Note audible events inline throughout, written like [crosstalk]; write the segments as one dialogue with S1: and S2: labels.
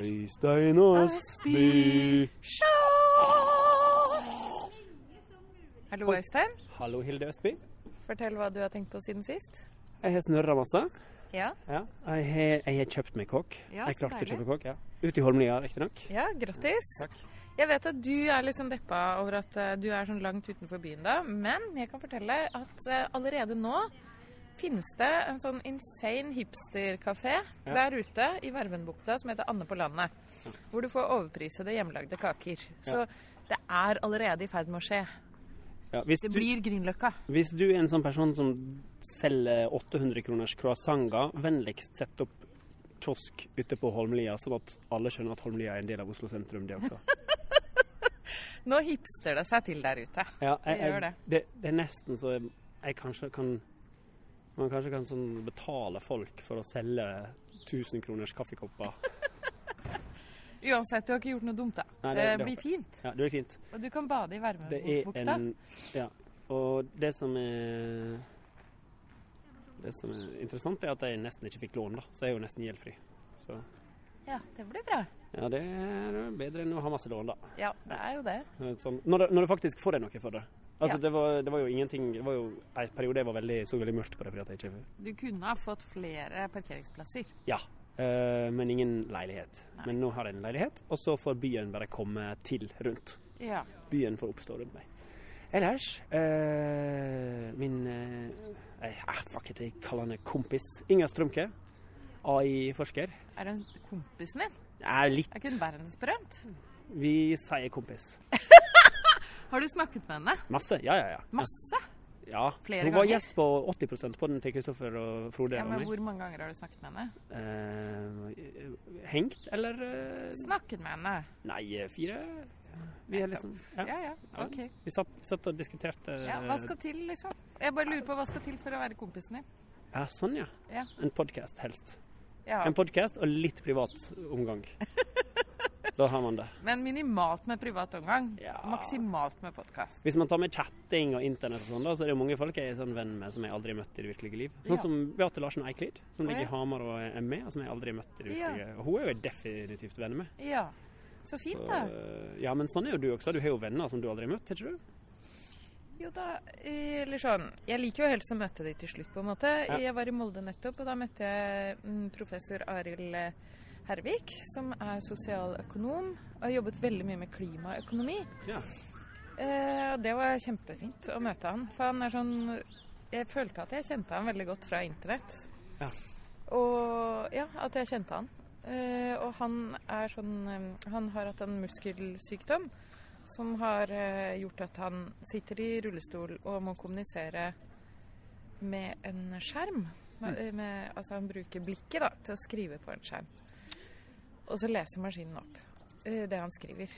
S1: Øystein og Astrid.
S2: Hallo, Øystein.
S1: Hallo, Hilde Østby.
S2: Fortell hva du har tenkt på siden sist.
S1: Jeg har snørra masse.
S2: Ja.
S1: Ja. Jeg, har, jeg har kjøpt meg kokk.
S2: Ja,
S1: jeg
S2: så
S1: klarte å
S2: deilig.
S1: kjøpe kokk. ja. Ute i Holmlia, riktignok.
S2: Ja, grattis.
S1: Takk.
S2: Jeg vet at du er litt sånn deppa over at eh, du er sånn langt utenfor byen da, men jeg kan fortelle at eh, allerede nå finnes det en sånn insane hipsterkafé
S1: Ja.
S2: der ute i Vervenbukta som heter Anne på landet, hvor du får overprisede hjemmelagde kaker. Så det er allerede i ferd med å skje.
S1: Ja, hvis,
S2: Det
S1: du,
S2: blir Grünerløkka.
S1: hvis du er en sånn person som selger 800 kroners croissanter, vennligst sett opp kiosk ute på Holmlia, sånn at alle skjønner at Holmlia er en del av Oslo sentrum, det
S2: [laughs]
S1: også.
S2: Nå hipster det seg til der ute.
S1: Ja,
S2: Det gjør det.
S1: det. Det er nesten så jeg, jeg kanskje kan Man kanskje kan sånn betale folk for å selge 1000 kroners kaffekopper.
S2: Uansett, du har ikke gjort noe dumt da.
S1: Nei,
S2: det,
S1: det- det-
S2: blir fint,
S1: Ja, det blir fint.
S2: og du kan bade i
S1: Det er
S2: Vervenbukta.
S1: en Ja. Og det som er Det som er interessant, er at jeg nesten ikke fikk lån, da. Så jeg er jo nesten gjeldfri. Så
S2: Ja, det blir bra.
S1: ja, det er bedre enn å ha masse lån, da.
S2: Ja, det er jo det.
S1: Sånn, når, du- når du faktisk får deg noe for det. Altså,
S2: Ja.
S1: det, var, det var jo ingenting Det var jo en periode jeg var veldig, så veldig mørkt på det fordi at jeg ikke
S2: Du kunne ha fått flere parkeringsplasser.
S1: Ja. eh, men ingen leilighet. Men nå har jeg en leilighet, og så får byen bare komme til rundt.
S2: Ja.
S1: byen får oppstå rundt meg. Ellers eh, Min eh, eh, ah, Fuck it, jeg kaller henne kompis. Inger Strømke. AI-forsker.
S2: Er hun kompisen din?
S1: Nei, litt.
S2: Er ikke hun verdensberømt?
S1: Vi sier kompis.
S2: Har du snakket med henne?
S1: Masse. Ja, ja, ja.
S2: Masse?
S1: ja.
S2: Flere
S1: Hun var
S2: ganger?
S1: gjest på 80 på den til Kristoffer og Frode.
S2: Ja,
S1: og
S2: men
S1: meg.
S2: Hvor mange ganger har du snakket med henne?
S1: Eh, hengt, eller eh,
S2: Snakket med henne.
S1: Nei, eh, fire? Vi er liksom ja.
S2: Ja, ja. Ok.
S1: Vi satt, satt og diskuterte
S2: Ja, hva skal til, liksom? Jeg bare lurer på hva skal til for å være kompisen din?
S1: ja, sånn, ja.
S2: Ja.
S1: En podkast, helst.
S2: ja.
S1: En podkast og litt privat
S2: [laughs]
S1: omgang. Da har man det.
S2: Men minimalt med privat omgang.
S1: Ja.
S2: Maksimalt med podkast.
S1: Hvis man tar med chatting og internett og sånn, da, så er det jo mange folk jeg er sånn venn med som jeg aldri har møtt i det virkelige liv. Sånn
S2: Ja.
S1: som Beate Larsen Eiklid, som
S2: Å,
S1: ligger
S2: ja.
S1: i Hamar og er med, og som jeg aldri har møtt i det
S2: Ja.
S1: virkelige Og hun er jo jeg definitivt venn med.
S2: Ja. Så fint, da.
S1: Så, ja, men sånn er jo du også. Du har jo venner som du aldri har møtt, har
S2: [laughs]
S1: ikke du?
S2: Jo da, eh, eller sånn Jeg liker jo helst å møte de til slutt, på en måte.
S1: Ja.
S2: Jeg var i Molde nettopp, og da møtte jeg mm, professor Arild eh, Hervik, som er sosialøkonom og har jobbet veldig mye med klimaøkonomi.
S1: Ja.
S2: Eh, og det var kjempefint å møte han. For han er sånn Jeg følte at jeg kjente han veldig godt fra internett.
S1: Ja.
S2: Og ja, at jeg kjente han. Eh, og han er sånn eh, Han har hatt en muskelsykdom som har eh, gjort at han sitter i rullestol og må kommunisere med en skjerm. Med, med, altså han bruker blikket da, til å skrive på en skjerm. Og så leser maskinen opp eh, det han skriver.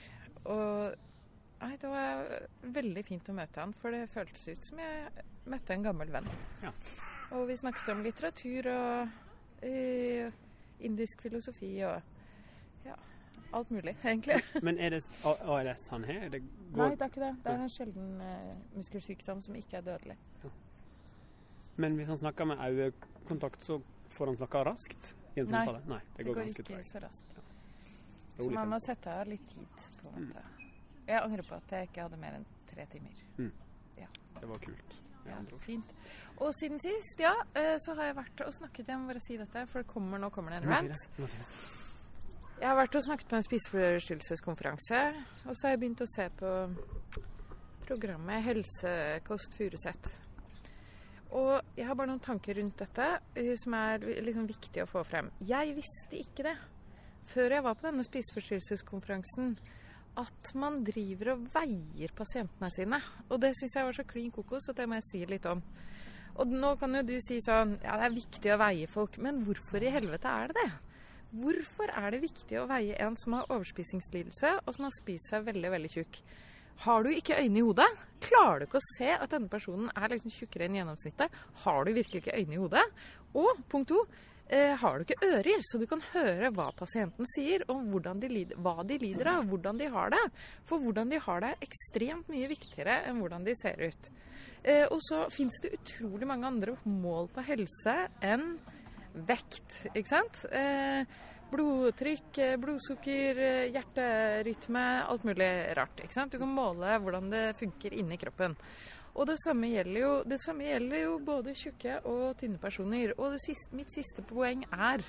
S2: Og nei, det var veldig fint å møte han, for det føltes ut som jeg møtte en gammel venn.
S1: Ja.
S2: Og vi snakket om litteratur og eh, indisk filosofi og ja, alt mulig, egentlig.
S1: Men er det A- ALS han har? Det
S2: Nei,
S1: går,
S2: det er ikke det. Det er en sjelden eh, muskelsykdom som ikke er dødelig.
S1: men hvis han snakker med øyekontakt, så får han snakka raskt? I en
S2: Nei.
S1: samtale? Nei. Det
S2: Det
S1: går,
S2: går
S1: ganske
S2: ikke
S1: tregt.
S2: så raskt. Så
S1: Rolig
S2: man
S1: tempo. Mm.
S2: må sette av litt tid, på en måte. Jeg angrer på at jeg ikke hadde mer enn tre timer.
S1: Det var kult. med
S2: Ja,
S1: andre ord.
S2: fint. Og siden sist, ja, eh, så har jeg vært og snakket Jeg må bare si dette, for det kommer, nå kommer det en
S1: Jeg må si
S2: rant.
S1: det. Jeg må si det.
S2: Jeg har vært og snakket på en spiseforstyrrelseskonferanse, og så har jeg begynt å se på programmet Helsekost Furuset. Og jeg har bare noen tanker rundt dette eh, som er vi- liksom viktig å få frem. Jeg visste ikke det før jeg var på denne spiseforstyrrelseskonferansen, at man driver og veier pasientene sine. Og det syns jeg var så klin kokos, og det må jeg si litt om. Og nå kan jo du si sånn Ja, det er viktig å veie folk, men hvorfor i helvete er det det? Hvorfor er det viktig å veie en som har overspisingslidelse, og som har spist seg veldig, veldig tjukk? Har du ikke øyne i hodet? Klarer du ikke å se at denne personen er liksom tjukkere enn gjennomsnittet? Har du virkelig ikke øyne i hodet? Og punkt to, eh, har du ikke ører, så du kan høre hva pasienten sier om hvordan de lider, hva de lider av, hvordan de har det? For hvordan de har det er ekstremt mye viktigere enn hvordan de ser ut. Eh, og så fins det utrolig mange andre mål på helse enn vekt, ikke sant? Eh, blodtrykk, eh, blodsukker, eh, hjerterytme, alt mulig rart. ikke sant? Du kan måle hvordan det funker inni kroppen. Og det samme gjelder jo, det samme gjelder jo både tjukke og tynne personer. Og det siste, mitt siste poeng er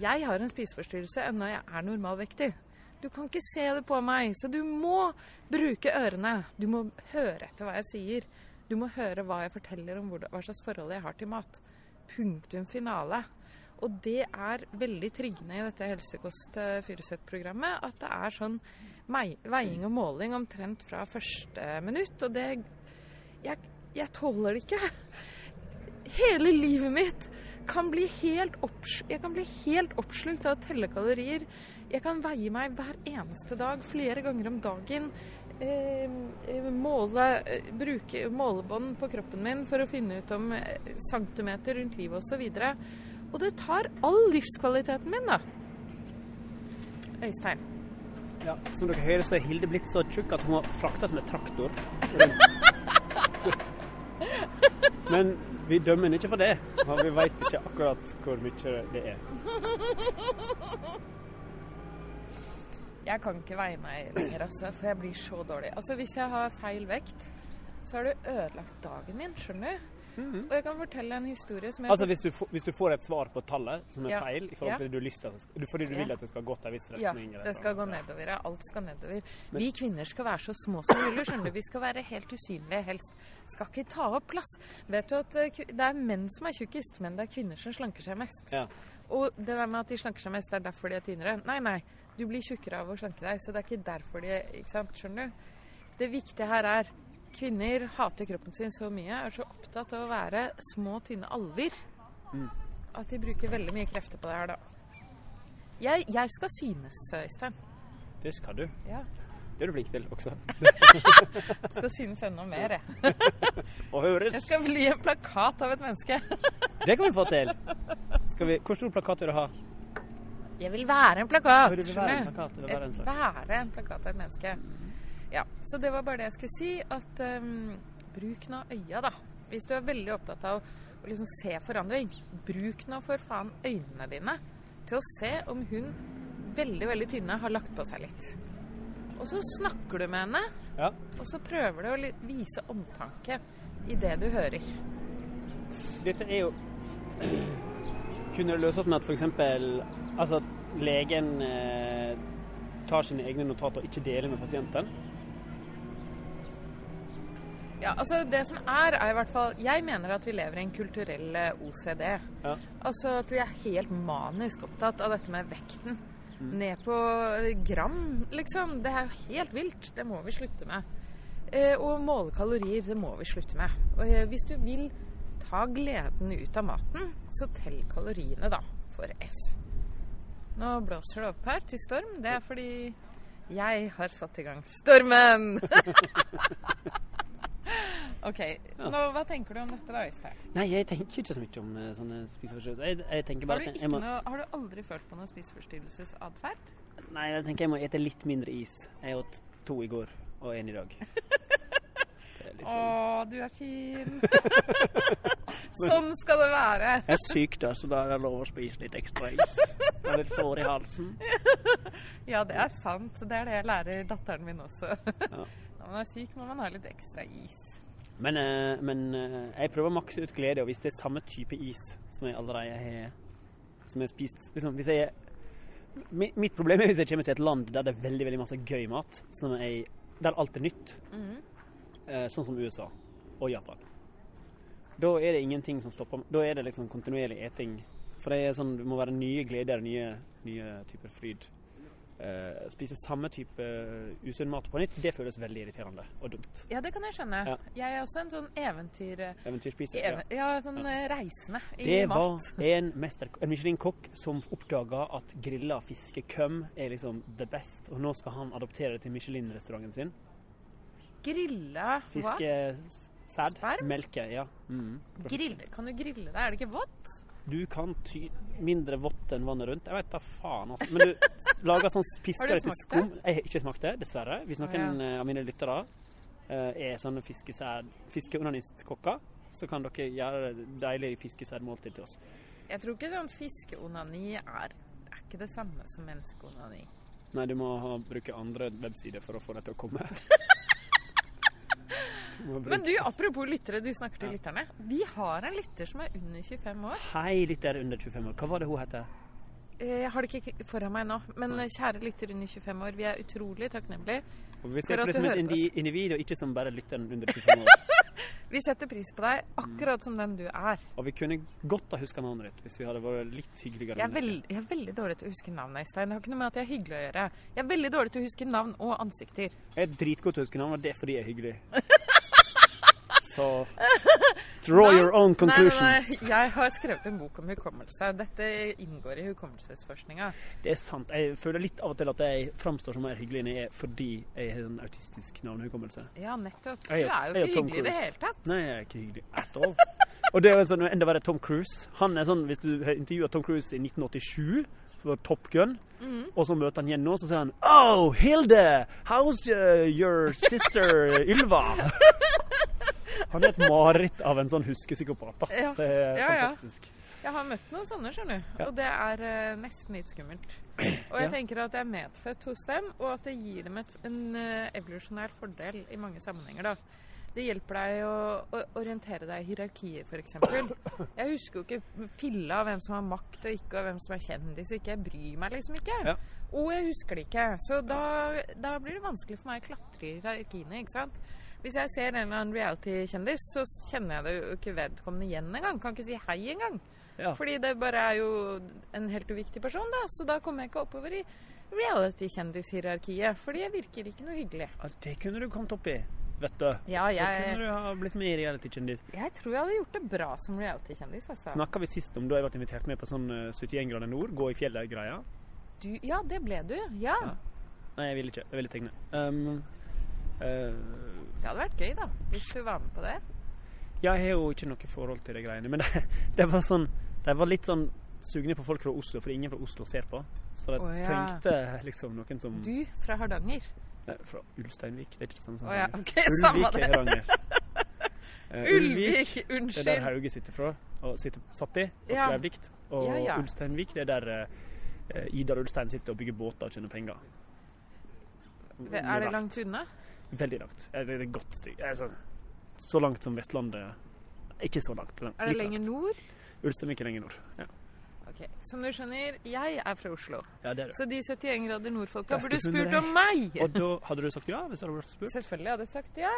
S2: jeg har en spiseforstyrrelse ennå jeg er normalvektig. Du kan ikke se det på meg, så du må bruke ørene. Du må høre etter hva jeg sier. Du må høre hva jeg forteller om hvordan- hva slags forhold jeg har til mat. Punktum finale. Og det er veldig triggende i dette Helsekost eh, Furuset-programmet at det er sånn mei- veiing og måling omtrent fra første minutt. Og det Jeg, jeg tåler det ikke. Hele livet mitt kan bli helt, opps jeg kan bli helt oppslukt av å telle kalorier. Jeg kan veie meg hver eneste dag, flere ganger om dagen. Eh, eh, måle, eh, bruke målebånd på kroppen min for å finne ut om eh, centimeter rundt livet osv. Og, så og det tar all livskvaliteten min, da. Øystein.
S1: Ja, som dere hører, så er Hilde blitt så tjukk at hun har frakta som en traktor. rundt. Men vi dømmer henne ikke for det. og Vi veit ikke akkurat hvor mye det er.
S2: Jeg kan ikke veie meg lenger, altså, for jeg blir så dårlig. Altså, Hvis jeg har feil vekt, så har du ødelagt dagen min, skjønner du? Og jeg kan fortelle en historie som jeg
S1: Mhm. Altså hvis du, får- hvis du får et svar på tallet som er
S2: Ja.
S1: feil, i forhold til det du har lyst til, at det skal- fordi du
S2: Ja.
S1: vil at det skal gå til en viss
S2: Ja,
S1: retning? eller
S2: det skal
S1: noe.
S2: gå nedover. Ja. Alt skal nedover. Vi kvinner skal være så små som mulig. skjønner du. Vi skal være helt usynlige helst. Skal ikke ta opp plass. Vet du at eh, kvi- Det er menn som er tjukkest, men det er kvinner som slanker seg mest.
S1: Ja.
S2: Og det der med at de slanker seg mest, det er derfor de er tynnere. Nei, nei. Du blir tjukkere av å slanke deg, så det er ikke derfor de Ikke sant? Skjønner du? Det viktige her er kvinner hater kroppen sin så mye, er så opptatt av å være små, tynne alver, at de bruker veldig mye krefter på det her, da. Jeg, jeg skal synes, Øystein.
S1: Det skal du.
S2: Ja.
S1: Det er du flink til også.
S2: Jeg skal synes enda mer, jeg.
S1: Og høres.
S2: [laughs] Jeg skal bli en plakat av et menneske.
S1: Det kan vi få til. Skal vi, hvor stor plakat vil du ha?
S2: Jeg vil være en plakat.
S1: Du vil være en
S2: skjønner du?
S1: plakat, du vil være en sak. Mm.
S2: være en plakat av et menneske. Ja, så det var bare det jeg skulle si. At ehm, bruk nå øya, da. Hvis du er veldig opptatt av å liksom se forandring, bruk nå for faen øynene dine til å se om hun veldig, veldig tynne har lagt på seg litt. Og så snakker du med henne,
S1: Ja.
S2: og så prøver du å li- vise omtanke i det du hører.
S1: Dette er jo [clears throat] Kunne det løses med at f.eks. Altså at legen eh, tar sine egne notater og ikke deler med pasienten?
S2: Ja, altså Det som er, er i hvert fall Jeg mener at vi lever i en kulturell eh, OCD.
S1: Ja.
S2: Altså at vi er helt manisk opptatt av dette med vekten. Ned på eh, gram, liksom. Det er jo helt vilt. Det må vi slutte med. Eh, og måle kalorier, det må vi slutte med. Og, eh, hvis du vil ta gleden ut av maten, så tell kaloriene, da. For F. Nå blåser det opp her til storm. Det er fordi jeg har satt i gang stormen! OK.
S1: Ja.
S2: Nå, hva tenker du om dette, da, Øystein?
S1: Nei, jeg tenker ikke så mye om eh, sånne spiseforstyrrelser. Jeg, jeg tenker
S2: Har
S1: bare
S2: du,
S1: at
S2: ikke
S1: jeg må,
S2: noe, har du aldri følt på noe spiseforstyrrelsesatferd?
S1: Nei, jeg tenker jeg må ete litt mindre is. Jeg åt to i går og én
S2: [laughs]
S1: i dag. Det er litt
S2: Å,
S1: sånn.
S2: du er
S1: [laughs]
S2: fin! [laughs] sånn skal det være!
S1: Jeg er syk, da, så da er det lov å spise litt ekstra is. Jeg har litt sår i halsen.
S2: Ja, det er sant. Det er det jeg lærer datteren min også.
S1: Ja.
S2: [laughs] Når man er syk, må man ha litt ekstra is.
S1: Men, eh, men eh, jeg prøver å makse ut glede, og hvis det er samme type is som jeg allerede har Som jeg har spist liksom, hvis jeg, mi- Mitt problem er hvis jeg kommer til et land der det er veldig veldig masse gøy mat, som jeg, der alt er nytt, eh, sånn som USA og Japan. Da er det ingenting som stopper meg. Da er det liksom kontinuerlig eting. For det, er sånn, det må være nye gleder, nye, nye typer fryd. Eh, spise samme type eh, usunn mat på nytt, det føles veldig irriterende og dumt.
S2: Ja, det kan jeg skjønne.
S1: Ja.
S2: Jeg er også en sånn eventyr...
S1: Eventyrspiser.
S2: Even, ja, sånn eh, reisende i
S1: Det var
S2: [laughs] mat.
S1: en, mester, en Michelin-kokk som oppdaga at grilla fiskekøm er liksom the best, og nå skal han adoptere det til Michelin-restauranten sin.
S2: Grilla hva?
S1: Fiskesæd.
S2: Sperm?
S1: Melke, ja. Mm.
S2: Grille. Kan du grille det? Er det ikke vått?
S1: Du kan ty mindre vått enn vannet rundt. Jeg veit da faen, altså. Men du lager
S2: [laughs]
S1: sånn
S2: Har du
S1: pisker til
S2: smakt
S1: skum. Jeg har ikke smakt det, dessverre. Hvis
S2: Å,
S1: noen eh, av mine lyttere eh, er sånne fiskesæd fiskeunanistkokker, så kan dere gjøre deilig fiskesædmåltid til oss.
S2: Jeg tror ikke sånn fiskeonani er, er ikke det samme som menneskeonani.
S1: Nei, du må ha, bruke andre websider for å få det til å komme. Du må
S2: [laughs] Men
S1: bruke-
S2: du, apropos lyttere, du snakker til lytterne. Vi har en lytter som er under 25 år.
S1: Hei, lytter under 25 år. Hva var det hun het?
S2: Eh, Jeg har det ikke foran meg nå, men eh, kjære lytter under 25 år, vi er utrolig takknemlige.
S1: Vi
S2: For
S1: ser på
S2: at
S1: det som
S2: du
S1: et
S2: hører på
S1: indi individ, og ikke som bare lytteren under 25
S2: [laughs]
S1: år.
S2: Vi setter pris på deg
S1: Mm.
S2: akkurat som den du er.
S1: Og vi kunne godt ha huska navnet ditt hvis vi hadde vært litt hyggeligere.
S2: Jeg er,
S1: mennesker.
S2: veld, jeg er veldig dårlig til å huske navn, Øystein. Det har ikke noe med at jeg er hyggelig å gjøre. Jeg er veldig dårlig til å huske navn og ansikter.
S1: Jeg er dritgod til å huske navn, og det er fordi jeg er hyggelig.
S2: [laughs]
S1: Så draw your own conclusions.
S2: Nei, nei, nei. eh, Jeg har skrevet en bok om hukommelse. Dette inngår i hukommelsesforskninga.
S1: Det er sant. Jeg føler litt av og til at jeg framstår som mer hyggelig enn jeg er fordi jeg har en autistisk navnehukommelse.
S2: Ja, nettopp. Du
S1: Jeg er-
S2: er jo
S1: jeg er
S2: ikke
S1: Tom
S2: hyggelig i det
S1: Cruise.
S2: hele tatt.
S1: Nei, jeg er ikke hyggelig at all. Og det er jo sånn, enda verre Tom Cruise. Han er sånn, Hvis du intervjuer Tom Cruise i 1987 for Top Gun,
S2: Mhm.
S1: og så møter han igjen nå, så sier han Oh, Hilde! How's uh, your sister Ylva?
S2: [laughs]
S1: Han er et mareritt av en sånn huskepsykopat. da.
S2: Ja.
S1: Det er
S2: Ja, ja.
S1: fantastisk.
S2: Jeg har møtt noen sånne, skjønner du.
S1: Ja.
S2: Og det er eh, nesten litt skummelt.
S1: [clears throat]
S2: Og jeg
S1: Ja.
S2: tenker at det er medfødt hos dem, og at det gir dem et, en eh, evolusjonær fordel i mange sammenhenger, da. Det hjelper deg å, å orientere deg i hierarkier, f.eks. Jeg husker jo ikke filla av hvem som har makt og ikke, og hvem som er kjendis og ikke. Jeg bryr meg liksom ikke.
S1: Ja.
S2: Og jeg husker det ikke. Så da, da blir det vanskelig for meg å klatre i hierarkiene, ikke sant. Hvis jeg ser en eller annen reality-kjendis, så kjenner jeg det jo ikke vedkommende igjen engang. Kan ikke si hei engang.
S1: Ja.
S2: Fordi det bare er jo en helt uviktig person, da. Så da kommer jeg ikke oppover i reality-kjendishierarkiet. Fordi jeg virker ikke noe hyggelig.
S1: Ja, det kunne du kommet opp i, vet du.
S2: Ja,
S1: Da kunne
S2: jeg,
S1: du ha blitt med i reality-kjendis.
S2: jeg tror jeg hadde gjort det bra som reality-kjendis, altså.
S1: Snakka vi sist om da jeg ble invitert med på sånn eh, 71 grader nord, gå i fjellet-greia?
S2: Du, ja, det ble du. Ja.
S1: Ja. Nei, jeg ville ikke. Jeg ville tegne. Um, eh,
S2: Det hadde vært gøy, da. Hvis du var med på det.
S1: Jeg har jo ikke noe forhold til de greiene, men [laughs] det, det var sånn De var litt sånn sugne på folk fra Oslo, fordi ingen fra Oslo ser på. Så de
S2: Å, ja.
S1: trengte liksom noen som
S2: Du fra Hardanger.
S1: Nei, Fra Ulsteinvik, det er ikke det samme som
S2: Å ja,
S1: Hardanger.
S2: OK, [laughs] samme
S1: Ulvik er
S2: det. [laughs]
S1: Hardanger. Eh, Ulvik,
S2: Ulvik,
S1: det er der
S2: unnskyld.
S1: Hauge sitter fra, og sitter, satt i, og
S2: Ja.
S1: skrev dikt. Og
S2: Ja, ja.
S1: Ulsteinvik, det er der eh, Idar Ulstein sitter og bygger båter og tjener penger.
S2: Er det langt unna?
S1: Veldig langt. Eh, Det er et godt stykke. Altså, så langt som Vestlandet Ikke så langt. langt-
S2: Er det
S1: litt
S2: lenger
S1: langt.
S2: nord?
S1: Ulsteinvik er lenger nord. Ja.
S2: Ok, Som du skjønner, jeg er fra Oslo.
S1: Ja, det er det.
S2: Så de 71 grader nord-folka
S1: Jeg
S2: burde
S1: skulle
S2: spurt
S1: funnet
S2: om meg!
S1: Og da hadde du sagt ja? hvis du hadde vært spurt?
S2: Selvfølgelig hadde jeg sagt ja.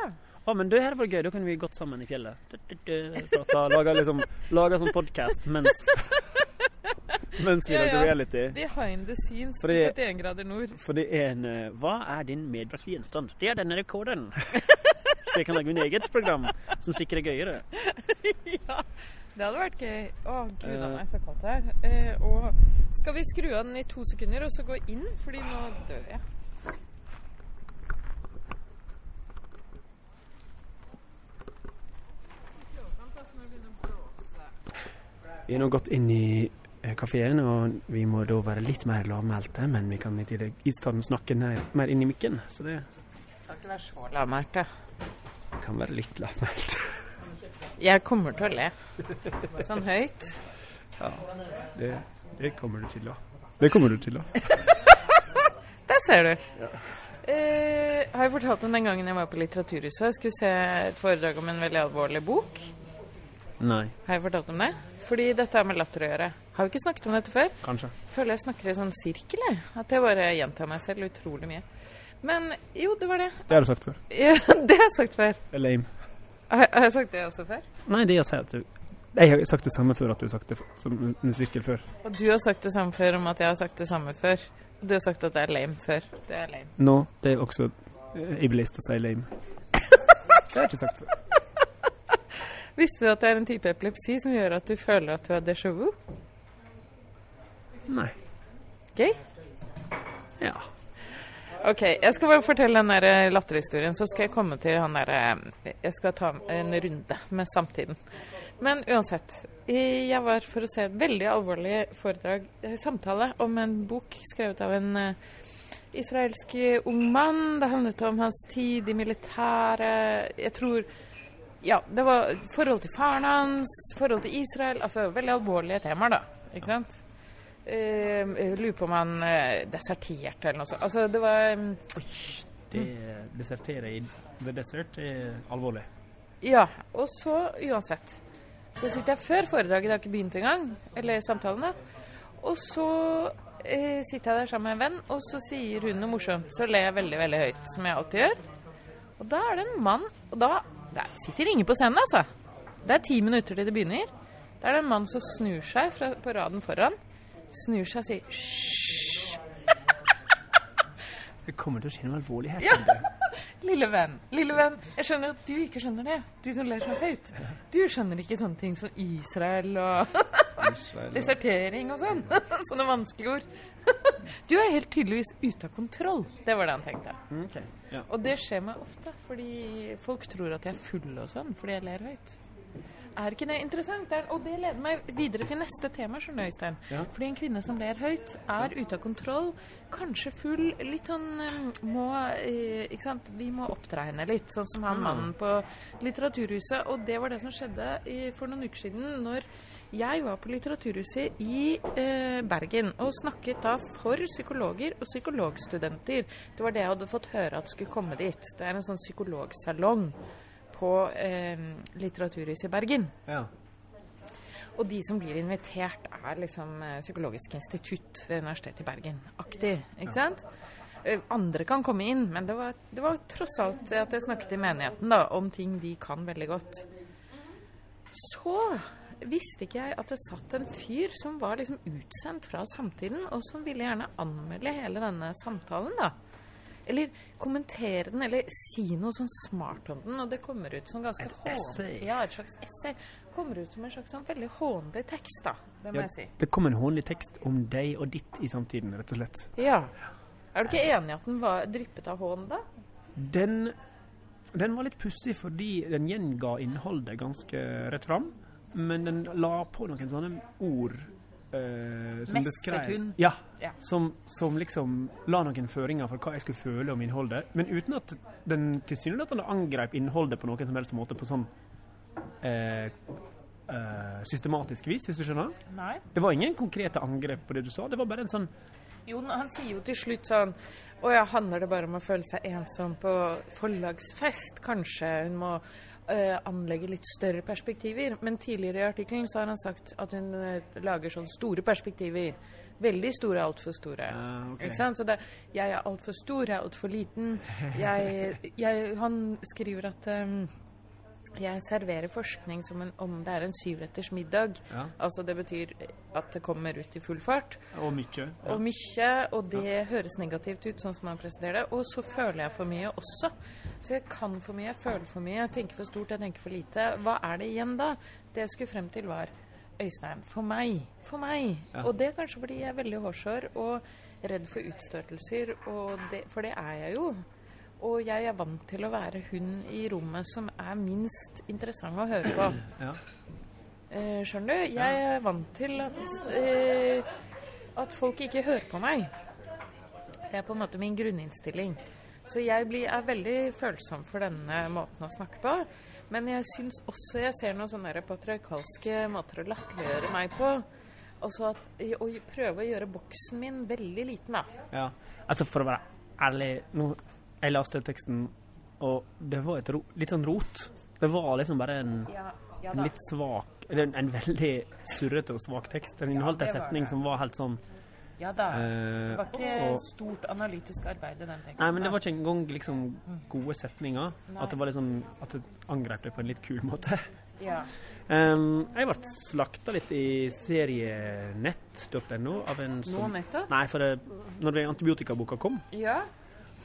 S1: Å, men det her var gøy. Da kunne vi gått sammen i fjellet. Du, du, du, Prata, laga liksom, laga sånn podkast mens Mens vi
S2: Ja,
S1: lagde
S2: ja.
S1: reality.
S2: Behind the scenes på
S1: Fordi-
S2: 71 grader
S1: [laughs]
S2: nord.
S1: For det er en eh, Hva er din medbragte gjenstand? Det er denne
S2: [laughs]
S1: rekorden. Så jeg kan lage min eget program som sikkert er gøyere.
S2: ja, det hadde vært gøy. Å, gud a
S1: Eh.
S2: meg, så kaldt det er. Eh, og skal vi skru av den i to sekunder og så gå inn? Fordi nå dør jeg.
S1: Vi er nå gått inn i kafeen, og vi må da være litt mer lavmælte, men vi kan i tillegg i stedet snakke nær, mer inn i mikken, så det
S2: Skal ikke være så lavmælt, da.
S1: kan være litt lavmælt.
S2: Jeg kommer til å le. Sånn høyt.
S1: [laughs] Det, det kommer du til, da. Det kommer du til, da.
S2: Der ser du. Eh, har jeg fortalt om den gangen jeg var på Litteraturhuset og skulle se et foredrag om en veldig alvorlig bok?
S1: Nei.
S2: Har jeg fortalt om det? Fordi dette har med latter å gjøre. Har vi ikke snakket om dette før?
S1: Kanskje.
S2: føler jeg snakker i sånn sirkel, jeg. At jeg bare gjentar meg selv utrolig mye. Men jo, det var det. [laughs]
S1: Det har du sagt før.
S2: Ja, det har jeg sagt før.
S1: Det er lame.
S2: Har, har jeg sagt det også før?
S1: Nei, det å si at du Jeg har sagt det samme før at du har sagt det f- som med sirkel før.
S2: Og du har sagt det samme før om at jeg har sagt det samme før. Og du har sagt at det er lame før. Det er lame.
S1: Nå, det er også eh, ibelist å si [laughs] lame. Det har jeg ikke sagt før.
S2: Visste du at det er en type epilepsi som gjør at du føler at du har déjà vu?
S1: Nei.
S2: Gøy?
S1: Ja.
S2: Ok, jeg skal bare fortelle den der eh, latterhistorien, så skal jeg komme til han der eh, Jeg skal ta en runde med samtiden. Men uansett. eh, Jeg var for å se et veldig alvorlig foredrag, eh, samtale, om en bok skrevet av en eh, israelsk eh, ung mann. Det handlet om hans tid i militæret. Jeg tror Ja, det var forhold til faren hans, forhold til Israel. Altså veldig alvorlige temaer, da. Ikke sant? eh, jeg lurer på om han eh, deserterte eller noe sånt. Altså, det var mm,
S1: Det desertere i The Desert er alvorlig.
S2: Ja. Og så, uansett Så sitter jeg før foredraget, det har ikke begynt engang, eller samtalen, da. Og så eh, sitter jeg der sammen med en venn, og så sier hun noe morsomt. Så ler jeg veldig, veldig høyt, som jeg alltid gjør. Og da er det en mann Og da der sitter ingen på scenen, altså. Det er ti minutter til det begynner. Da er det en mann som snur seg fra, på raden foran. Snur seg og sier 'hysj'.
S1: Jeg kommer til å kjenne meg alvorlig her.
S2: Lille venn, lille venn, jeg skjønner at du ikke skjønner det. Du som ler så høyt. Du skjønner ikke sånne ting som Israel og desertering og sånn. [laughs] Sånne vanskelige ord. [laughs] Du er helt tydeligvis ute av kontroll. Det var det han tenkte.
S1: Mm, Ok, ja.
S2: Og det skjer meg ofte, fordi folk tror at jeg er full og sånn, fordi jeg ler høyt. Er ikke det interessant? Det er, og det leder meg videre til neste tema, skjønner du, Øystein.
S1: Ja.
S2: Fordi en kvinne som ler høyt, er ute av kontroll, kanskje full, litt sånn eh, må eh, Ikke sant? Vi må oppdra henne litt, sånn som han mannen på Litteraturhuset. Og det var det som skjedde i, for noen uker siden, når jeg var på Litteraturhuset i eh, Bergen og snakket da for psykologer og psykologstudenter. Det var det jeg hadde fått høre at skulle komme dit. Det er en sånn psykologsalong på eh, Litteraturhuset i Bergen.
S1: Ja.
S2: Og de som blir invitert, er liksom eh, Psykologisk institutt ved Universitetet i Bergen. Aktig, ikke sant? Eh, Andre kan komme inn, men det var, det var tross alt at jeg snakket i menigheten da, om ting de kan veldig godt. Så visste ikke jeg at det satt en fyr som var liksom utsendt fra samtiden, og som ville gjerne anmelde hele denne samtalen, da. Eller kommentere den, eller si noe sånn smart om den. Og det kommer ut som ganske
S1: Et essay.
S2: hån- Ja, et slags essay. Kommer ut som en slags sånn veldig hånlig tekst, da. Det må jeg si.
S1: Det kom en hånlig tekst om deg og ditt i samtiden, rett og slett.
S2: Ja. Er du ikke enig i at den var dryppet av hån, da?
S1: Den, den var litt pussig fordi den gjenga innholdet ganske rett fram, men den la på noen sånne ord eh, som beskrev-
S2: Messetun.
S1: Ja,
S2: Ja.
S1: Som, som liksom la noen føringer for hva jeg skulle føle om innholdet, men uten at den tilsynelatende angrep innholdet på noen som helst måte på sånn eh, eh, systematisk vis, hvis du skjønner.
S2: Nei.
S1: Det var ingen konkrete angrep på det du sa, det var bare en sånn
S2: Jo, han sier jo til slutt sånn Å ja, handler det bare om å føle seg ensom på forlagsfest? Kanskje hun må eh, anlegge litt større perspektiver? Men tidligere i artikkelen så har han sagt at hun eh, lager sånn store perspektiver. Veldig store, altfor store.
S1: Ah, ok.
S2: Ikke sant? Så det, jeg er altfor stor, jeg er altfor liten. Jeg, jeg, han skriver at eh, jeg serverer forskning som en, om det er en syvretters middag.
S1: Ja.
S2: Altså det betyr at det kommer ut i full fart
S1: Og mye.
S2: og mye, og det høres negativt ut, sånn som han presenterer det. Og så føler jeg for mye også. Så jeg kan for mye, jeg føler for mye, jeg tenker for stort, jeg tenker for lite. Hva er det igjen da? Det jeg skulle frem til var Øystein, for meg, for meg. Og det er kanskje fordi jeg er veldig hårsår og redd for utstøtelser, og det, for det er jeg jo. Og jeg er vant til å være hun i rommet som er minst interessant å høre på.
S1: Ja.
S2: Eh, skjønner du? Jeg er vant til at, eh, at folk ikke hører på meg. Det er på en måte min grunninnstilling. Så jeg blir, er veldig følsom for denne måten å snakke på. Men jeg syns også jeg ser noen sånne der patriarkalske måter å latterliggjøre meg på. Altså at, å prøve å gjøre boksen min veldig liten, da.
S1: Ja. Altså, for å være ærlig nå, Jeg leste teksten, og det var et ro, litt sånn rot. Det var liksom bare en,
S2: Ja, ja
S1: en litt svak eller en, en veldig surrete og svak tekst. Den inneholdt
S2: det
S1: en
S2: var
S1: setning
S2: det.
S1: som var helt sånn
S2: Ja da.
S1: eh,
S2: Det var ikke
S1: og,
S2: stort analytisk arbeid i den teksten.
S1: Nei, men det
S2: da.
S1: var ikke engang liksom gode setninger.
S2: Nei.
S1: At det var liksom At det angrep det på en litt kul måte.
S2: ja.
S1: Ehm, jeg ble slakta litt i serienett.no av en
S2: Nå
S1: som
S2: nettopp?
S1: Nei, for det, når det antibiotikaboka kom,
S2: Ja.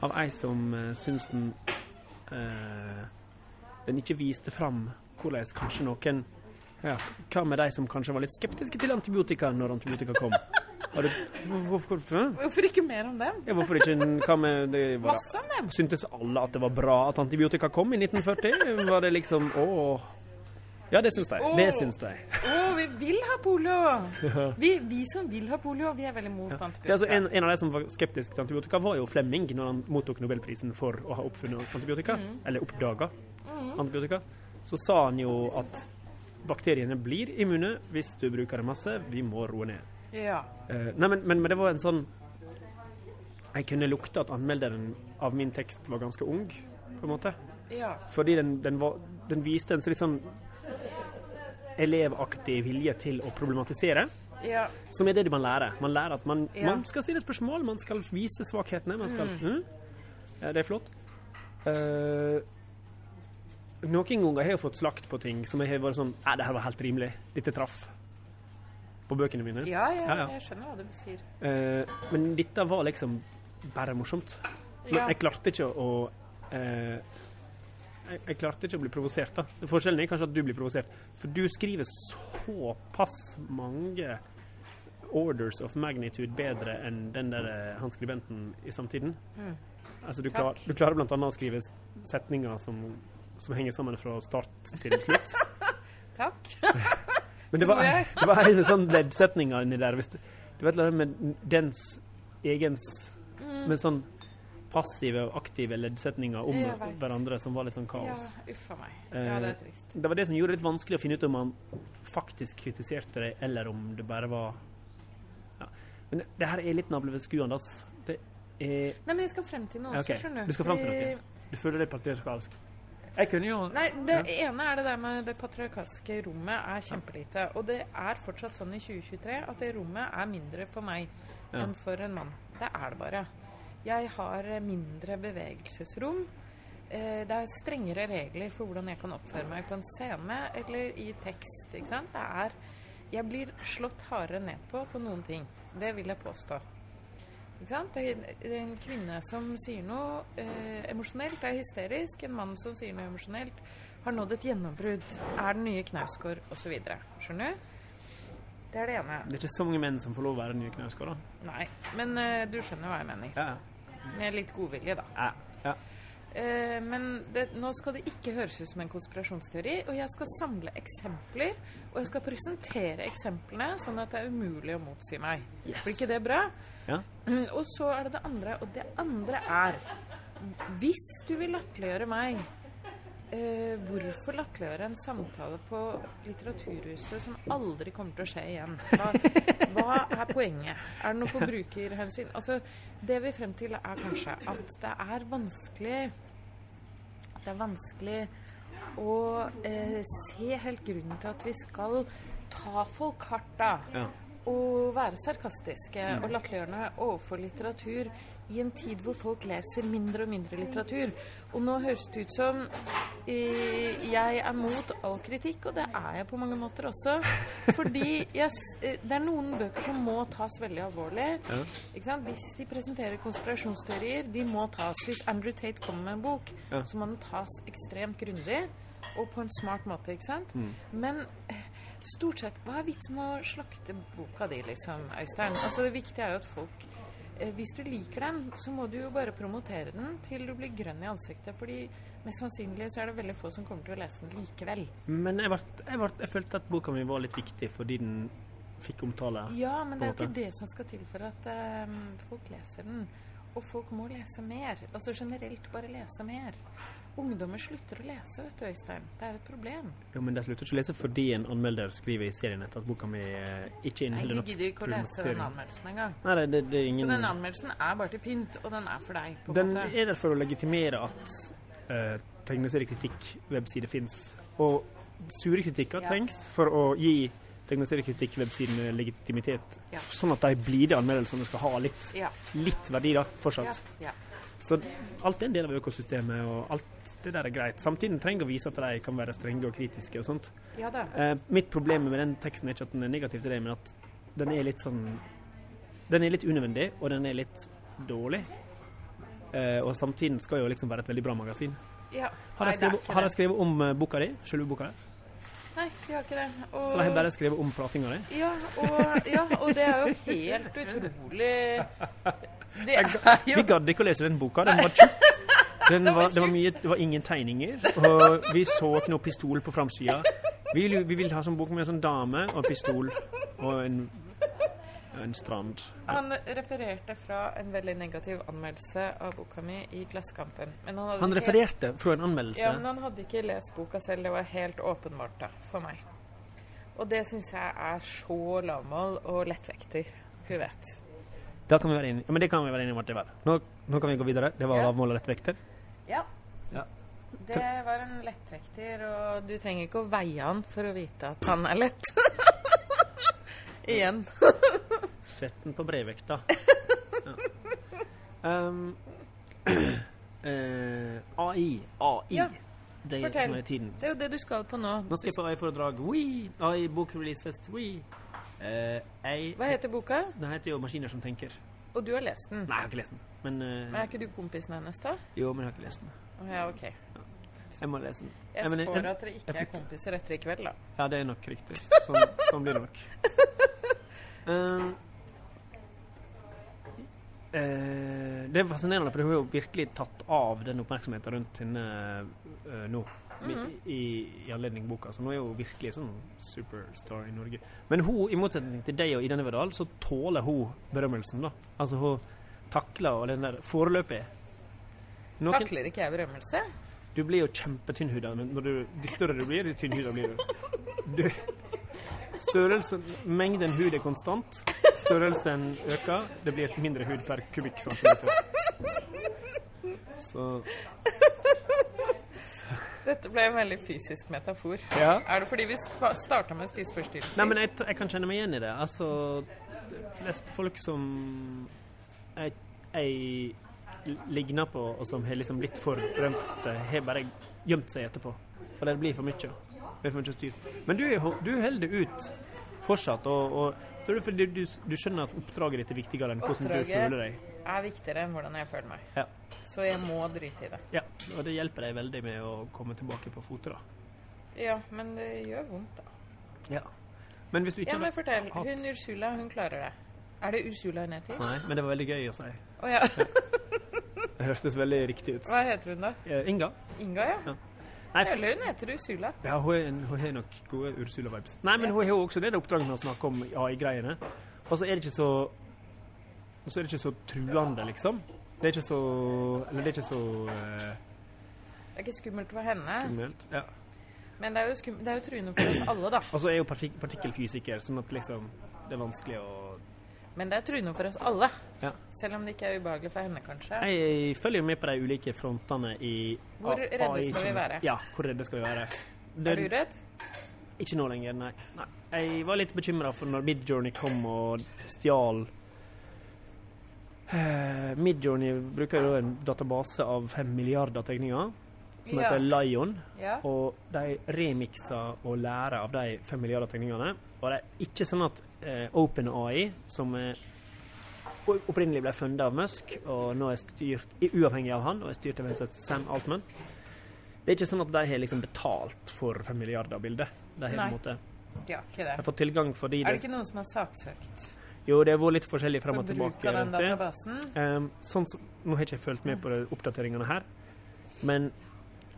S1: av ei som uh, syns den eh, Den ikke viste fram hvordan kanskje noen ja, Hva med de som kanskje var litt skeptiske til antibiotika når antibiotika kom? Har du, hvorfor, hvorfor,
S2: Hvorfor ikke mer om dem?
S1: ja, hvorfor ikke en- Hva med det var,
S2: Masse om dem!
S1: Syntes alle at det var bra at antibiotika kom i 1940? Var det liksom Å Ja, det syns de. Det syns de.
S2: Å, vi vil ha polio! Vi, vi som vil ha polio, vi er veldig mot
S1: Det er altså
S2: antibiotika.
S1: en, en av de som var skeptisk til antibiotika, var jo Flemming når han mottok Nobelprisen for å ha oppfunnet antibiotika, eller oppdaga antibiotika. Så sa han jo at bakteriene blir immune hvis du bruker det masse, vi må roe ned.
S2: Ja.
S1: Eh, nei, men, men, men det var en sånn Jeg kunne lukte at anmelderen av min tekst var ganske ung, på en måte.
S2: Ja.
S1: Fordi den, den, var, den viste en så litt sånn elevaktig vilje til å problematisere.
S2: Ja.
S1: Som er det man lærer. Man lærer at man,
S2: Ja.
S1: man skal stille spørsmål, man skal vise svakhetene. Man skal, mm. Ja, Det er flott. Eh, noen ganger har jeg fått slakt på ting som jeg har vært sånn Nei, det her var helt rimelig. Dette traff. På bøkene mine.
S2: Ja, ja,
S1: Ja, ja.
S2: jeg skjønner hva du sier.
S1: Eh, men dette var liksom bare morsomt. Men
S2: Ja.
S1: jeg klarte ikke å eh, jeg, jeg klarte ikke å bli provosert, da. Forskjellen er kanskje at du blir provosert. For du skriver såpass mange orders of magnitude bedre enn den der eh, han skribenten i samtiden. Altså, du, klar,
S2: Mm. Takk.
S1: du klarer blant annet å skrive s- setninger som, som henger sammen fra start til slutt.
S2: [laughs] Takk.
S1: [laughs] Men det var,
S2: [laughs] Tror jeg.
S1: det var en sånn leddsetning inni der. Hvis du, du vet det med dens egens
S2: Mm.
S1: Med sånn passive og aktive leddsetninger om
S2: Jeg vet.
S1: hverandre som var litt sånn
S2: Ja,
S1: kaos.
S2: uffa meg.
S1: Eh,
S2: Ja, det er trist.
S1: Det var det som gjorde det litt vanskelig å finne ut om han faktisk kritiserte deg, eller om det bare var ja. Men det her er litt navlebeskuende, ass. Det er
S2: Nei, men jeg skal frem til noe også,
S1: OK,
S2: skjønner
S1: du skal fram til
S2: Fordi-
S1: noe. Du føler deg patriarkalsk. Jeg kunne jo
S2: Nei, det ene er det der med det patriarkalske rommet er kjempelite. Og det er fortsatt sånn i 2023 at det rommet er mindre for meg
S1: Ja.
S2: enn for en mann. Det er det bare. Jeg har mindre bevegelsesrom. Eh, Det er strengere regler for hvordan jeg kan oppføre meg på en scene eller i tekst. ikke sant? Det er, jeg blir slått hardere ned på på noen ting. Det vil jeg påstå. Ikke sant? Det er- det er en kvinne som sier noe eh, emosjonelt, er hysterisk. En mann som sier noe emosjonelt, har nådd et gjennombrudd, er den nye Knausgård osv. Skjønner du? Det er det ene.
S1: Det er ikke så mange menn som får lov å være nye knausgård, da.
S2: Nei. Men eh, du skjønner hva jeg mener.
S1: Ja.
S2: Med litt godvilje, da.
S1: Ja. Ja.
S2: Eh, men det, nå skal det ikke høres ut som en konspirasjonsteori, og jeg skal samle eksempler. Og jeg skal presentere eksemplene, sånn at det er umulig å motsi meg.
S1: Yes.
S2: Blir ikke det bra?
S1: ja.
S2: Mm, Og så er det det andre, og det andre er Hvis du vil latterliggjøre meg, eh, hvorfor latterliggjøre en samtale på Litteraturhuset som aldri kommer til å skje igjen? Hva, hva er poenget? Er det noe forbrukerhensyn? Altså, det vi er frem til, er kanskje at det er vanskelig Det er vanskelig å eh, se helt grunnen til at vi skal ta folk hardt, da
S1: ja.
S2: å være sarkastiske og latterliggjørende overfor litteratur i en tid hvor folk leser mindre og mindre litteratur. Og nå høres det ut som eh, jeg er mot all kritikk, og det er jeg på mange måter også. Fordi jeg, s- eh, det er noen bøker som må tas veldig alvorlig.
S1: Ja.
S2: Ikke sant? Hvis de presenterer konspirasjonsteorier, de må tas. Hvis Andrew Tate kommer med en bok,
S1: Ja.
S2: så må den tas ekstremt grundig og på en smart måte, ikke sant? Men eh, stort sett, hva er vitsen med å slakte boka di, liksom, Øystein? Altså, det viktige er jo at folk eh, Hvis du liker den, så må du jo bare promotere den til du blir grønn i ansiktet, fordi mest sannsynlig så er det veldig få som kommer til å lese den likevel.
S1: Men jeg, vart, jeg, vart, jeg følte at boka mi var litt viktig fordi den fikk omtale.
S2: Ja, men det er jo
S1: på en
S2: ikke det som skal til for at eh, folk leser den. Og folk må lese mer. Altså generelt bare lese mer. Ungdommer slutter å lese, vet du, Øystein. Det er et problem.
S1: Jo, men de slutter ikke å lese fordi en anmelder skriver i Serienett at boka mi eh, ikke
S2: Nei,
S1: inneholder
S2: de
S1: nok
S2: gidder ikke å lese den
S1: problematisering.
S2: anmeldelsen engang.
S1: Nei, det, det, det er
S2: Så
S1: ingen
S2: den anmeldelsen er bare til pynt, og den er for deg, på en
S1: Den
S2: måte.
S1: er der for å legitimere at eh, tegneseriekritikk-websider fins. Og sure kritikker
S2: Ja.
S1: trengs for å gi tegneseriekritikk-websidene legitimitet,
S2: Ja.
S1: sånn at de blide anmeldelsene skal ha litt,
S2: Ja.
S1: litt verdi, da,
S2: Ja,
S1: fortsatt.
S2: ja.
S1: Så alt er en del av økosystemet, og alt det der er greit. Samtidig trenger å vise at de kan være strenge og kritiske og sånt.
S2: ja da.
S1: Eh, mitt problem med den teksten er ikke at den er negativ til deg, men at den er litt sånn Den er litt unødvendig, og den er litt dårlig. Eh, og samtidig skal jo liksom være et veldig bra magasin.
S2: Ja.
S1: Har
S2: Nei,
S1: jeg
S2: det er
S1: skrevet,
S2: ikke
S1: har jeg
S2: det.
S1: skrevet om eh, boka di? Selve boka di?
S2: Nei, de har ikke det. Og,
S1: Så de har bare skrevet om pratinga di?
S2: ja, og, ja, og det er jo helt utrolig
S1: [laughs]
S2: Det er jo
S1: Vi gadd ikke å lese den boka. Den var tjukk.
S2: [laughs]
S1: Den var, det, var mye, det var ingen tegninger. Og vi så ikke noe pistol på framsida. Vi, vil- vi ville ha sånn bok med en sånn dame og en pistol og en, en strand.
S2: Han refererte fra en veldig negativ anmeldelse av boka mi i Klassekampen. Men han, hadde
S1: Han
S2: ikke-
S1: refererte fra en
S2: Ja, men
S1: anmeldelse.
S2: han hadde ikke lest boka selv. Det var helt åpenbart da, for meg. Og det syns jeg er så lavmål og lettvekter. Du vet.
S1: Da kan vi være enige. Ja, men det kan vi være enige om at det var. Nå, nå kan vi gå videre. Det var
S2: Ja.
S1: lavmål og lettvekter.
S2: Ja.
S1: Ja.
S2: Det var en lettvekter, og du trenger ikke å veie han for å vite at han er
S1: [laughs]
S2: lett. Igjen.
S1: Sett den på [laughs] brevvekta. Ja. Um, [clears throat] eh, AI. AI.
S2: Ja,
S1: Det er
S2: fortell.
S1: som er tiden.
S2: Det er jo det du skal på nå.
S1: Nå skal jeg på AI-foredrag. Wee! AI-bokreleasefest. Wee! Eh, AI
S2: Hva heter boka?
S1: Den heter jo 'Maskiner som tenker'.
S2: Og du har lest den.
S1: Nei, jeg har ikke lest den. Men, eh,
S2: Men er ikke du kompisen hennes, da?
S1: Jo, men jeg har ikke lest den.
S2: Å Ja, OK.
S1: Jeg må lese den. Nei,
S2: Jeg
S1: men
S2: spår at dere ikke
S1: jeg
S2: er
S1: fikk-
S2: kompiser etter i kveld, da.
S1: Ja, det er nok riktig. Sånn, sånn blir det nok. Eh, eh, det er fascinerende, for hun har jo virkelig tatt av den oppmerksomheten rundt henne eh, nå. i, i, I anledning boka. Så nå er hun virkelig sånn superstar i Norge. Men hun, i motsetning til deg og Ida Neverdal, så tåler hun berømmelsen, da. Altså, hun takler og den der Foreløpig. Noen-
S2: Takler ikke jeg berømmelse?
S1: du blir jo kjempetynnhuda men når du, de større du blir, de tynnhuda blir du. du. Størrelsen, mengden hud er konstant. Størrelsen øker. Det blir mindre hud per kubikk centimeter. Så
S2: Dette ble en veldig fysisk metafor.
S1: Ja.
S2: Er det fordi vi starta med spiseforstyrrelser?
S1: Nei, men jeg, jeg kan kjenne meg igjen i det. Altså, de fleste folk som jeg, jeg ligner på, og som har liksom blitt for berømte, har bare gjemt seg etterpå. For det blir for mye. Det blir for mye styr. Men du, du holder det ut fortsatt, og, og tror du fordi du, du skjønner at oppdraget ditt er viktigere enn hvordan du
S2: Oppdraget
S1: føler deg?
S2: er viktigere enn hvordan jeg føler meg.
S1: Ja.
S2: Så jeg må drite i det.
S1: ja. Og det hjelper deg veldig med å komme tilbake på fote, da.
S2: Ja, men det gjør vondt, da.
S1: Ja. Men hvis du ikke
S2: Ja, men fortell.
S1: Hat.
S2: Hun Ursula, hun klarer det. Er det Ursula hun heter? Å
S1: Nei, men det var veldig gøy å si.
S2: ja. [laughs]
S1: Det hørtes veldig riktig ut.
S2: Hva heter hun da?
S1: Eh, Inga?
S2: Inga, ja.
S1: Nei,
S2: Eller hun heter Ursula.
S1: Ja, hun er en- hun har nok gode Ursula-vibes. Nei, men hun har jo også det der oppdraget med å snakke om AI-greiene. Og så er det ikke så Og så er det ikke så truende, liksom. Det er ikke så Eller det er ikke så eh,
S2: Det er ikke skummelt for henne,
S1: skummelt. Ja.
S2: men det er, jo skum det er jo truende for oss alle, da.
S1: Og så er jo partik partikkelfysiker, sånn at liksom Det er vanskelig å
S2: Men det er truende for oss alle.
S1: Ja.
S2: Selv om det ikke er ubehagelig for henne, kanskje.
S1: Jeg følger jo med på de ulike frontene i
S2: Hvor
S1: A-
S2: redde
S1: AI
S2: skal vi være?
S1: Ja, hvor redde skal vi være?
S2: Er du redd?
S1: Ikke nå lenger, nei. nei. Jeg var litt bekymra for når Midjourney kom og stjal Eh, Midjourney bruker jo en database av fem milliarder tegninger, som
S2: Ja.
S1: heter Lion.
S2: Ja.
S1: Og de remikser og lærer av de fem milliarder tegningene. Og det er ikke sånn at eh, OpenAI, som eh, o- opprinnelig ble funnet av Musk, og nå er styrt i- uavhengig av han, og er styrt av en som heter Sam Altman Det er ikke sånn at de har liksom betalt for fem milliarder bilder. De har på
S2: Nei.
S1: en måte
S2: Ja, ikke
S1: de
S2: det.
S1: har fått tilgang fordi
S2: Er det
S1: det
S2: ikke noen som har saksøkt
S1: Jo, det har vært litt forskjellig fram
S2: for
S1: og
S2: bruk
S1: tilbake
S2: av den
S1: rundt det.
S2: databasen?
S1: Ehm, sånn som, nå har jeg ikke fulgt med på de oppdateringene her, men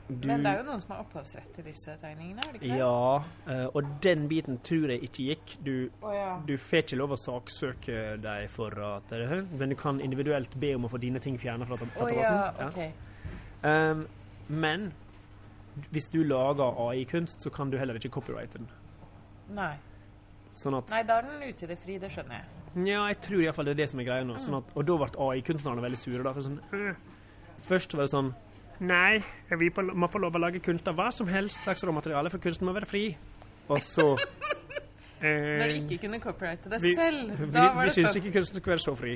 S1: du
S2: Men det er jo noen som har opphavsrett til disse tegningene, er det ikke det?
S1: Ja, eh, og den biten tror jeg ikke gikk. Du,
S2: Å ja.
S1: du får ikke lov å saksøke deg for at Men du kan individuelt be om å få dine ting fjernet fra
S2: Å ja,
S1: databasen. Ja.
S2: ok.
S1: Ehm, men hvis du lager AI-kunst, så kan du heller ikke copyrighte den.
S2: Nei.
S1: Sånn at
S2: Nei, da er den ute i det fri, det skjønner jeg.
S1: Ja, jeg tror iallfall det er det som er greia nå. Sånn at, og da ble AI-kunstnerne veldig sure. da, for sånn, «Øh». Først var det sånn Nei, vi på- må få lov å lage kunst av hva som helst slags råmateriale, for kunsten må være fri. Og så eh,
S2: [laughs] Når de ikke kunne copyrighte det
S1: vi,
S2: selv,
S1: vi,
S2: da var
S1: vi
S2: det
S1: syns
S2: sånn.
S1: ikke kunsten skal være så
S2: [laughs]
S1: fri.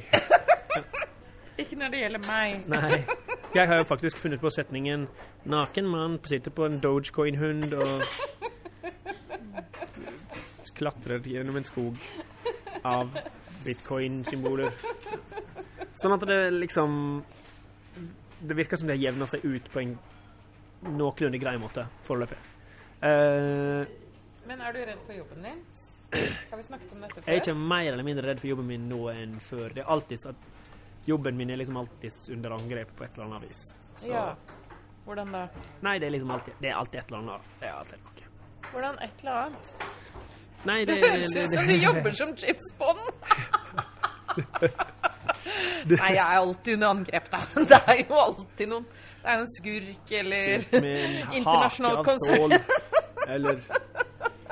S2: Ikke når det gjelder meg.
S1: Nei. Jeg har jo faktisk funnet på setningen 'Naken mann sitter på en dogecoin-hund og klatrer gjennom en skog av bitcoin-symboler'. Sånn at det liksom Det virker som det har jevna seg ut på en noenlunde grei måte foreløpig. Eh,
S2: Men er du redd for jobben
S1: [clears throat]
S2: din? Har vi snakket om dette
S1: jeg er
S2: før?
S1: ikke mer eller mindre redd for jobben min nå enn før. Det er alltid så at Jobben min er liksom alltid under angrep på et eller annet vis. Så-
S2: Ja. Hvordan da?
S1: Nei, det er liksom alltid Det er alltid et eller annet. Det er alltid noe.
S2: Hvordan et eller annet?
S1: Nei,
S2: Det [laughs] høres ut
S1: [laughs]
S2: som du jobber som James Bond! Nei, jeg er alltid under angrep, da. [laughs] Det er jo alltid noen Det er jo en skurk eller
S1: Med en hake
S2: [laughs] internasjonal
S1: av
S2: konsern.
S1: stål, Eller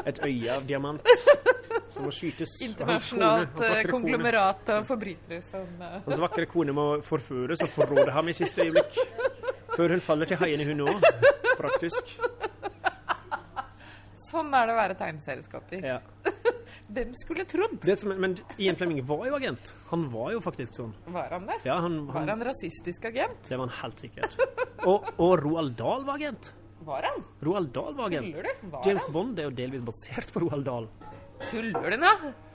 S1: Et øye av diamant som må skytes. og hans kone- hans
S2: Internasjonalt eh,
S1: vakre kone-
S2: konglomerat av forbrytere som eh,
S1: Hans vakre kone må forføres og forråde ham i siste øyeblikk. Før hun faller til haiene, hun òg. Praktisk.
S2: Sånn er det å være tegneserieskaper.
S1: Ja.
S2: Hvem skulle trodd?
S1: Det som, men Ian Flemming var jo agent. Han var jo faktisk sånn.
S2: Var han det?
S1: Ja, han,
S2: Var
S1: han,
S2: han rasistisk agent?
S1: det var han helt sikkert. Og, og Roald Dahl var agent.
S2: Var han?
S1: Roald Dahl var agent.
S2: Tuller du? Var
S1: James
S2: han?
S1: Bond er jo delvis basert på Roald Dahl.
S2: Tuller du nå?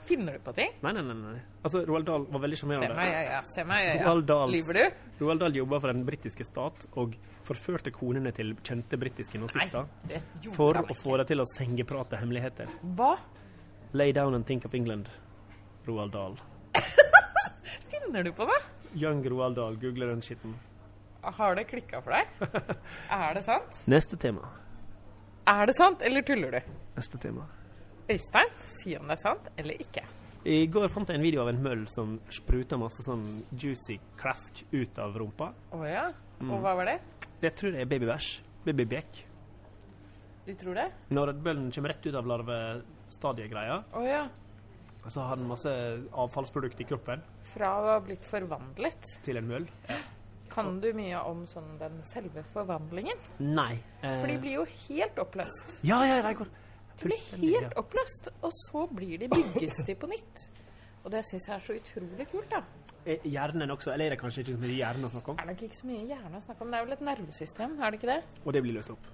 S2: Finner du på ting?
S1: Nei, nei, nei. nei. Altså, Roald Dahl var veldig
S2: Se meg,
S1: sjarmerende.
S2: ja, ja. Se meg, ja,
S1: Roald
S2: ja.
S1: Dahls.
S2: Lyver du?
S1: Roald Dahl jobba for den britiske stat og forførte konene til kjente britiske
S2: Nei,
S1: nazister
S2: det gjorde
S1: for
S2: han
S1: å få dem til å sengeprate hemmeligheter.
S2: Hva
S1: Lay down and think of England, Roald Dahl.
S2: finner du på nå?
S1: Young Roald Dahl, google den skitten. [laughs]
S2: Har det klikka for deg? Er det sant?
S1: Neste tema.
S2: Er det sant, eller tuller du?
S1: Neste tema.
S2: Øystein, si om det er sant eller ikke.
S1: I går fant jeg en video av en møll som spruta masse sånn juicy clask ut av rumpa.
S2: Å ja? Og hva var det?
S1: Det tror jeg er babybæsj. Babybek.
S2: Du tror det?
S1: Når møllen kommer rett ut av larvestadiegreia,
S2: Å ja.
S1: så har den masse avfallsprodukt i kroppen
S2: Fra å ha blitt forvandlet.
S1: til en møll.
S2: Kan du mye om sånn den selve forvandlingen?
S1: Nei. Eh,
S2: For de blir jo helt oppløst.
S1: Ja, ja, de går
S2: De blir
S1: Fullstendig,
S2: helt
S1: ja.
S2: oppløst, og så blir de bygges de på nytt. Og det syns jeg er så utrolig kult, da.
S1: Eh, Hjernen også. Eller er det kanskje ikke så mye hjerne å snakke om?
S2: Det er nok ikke så mye hjerne å snakke om. Det er vel et nervesystem, er det ikke det?
S1: Og det blir løst opp.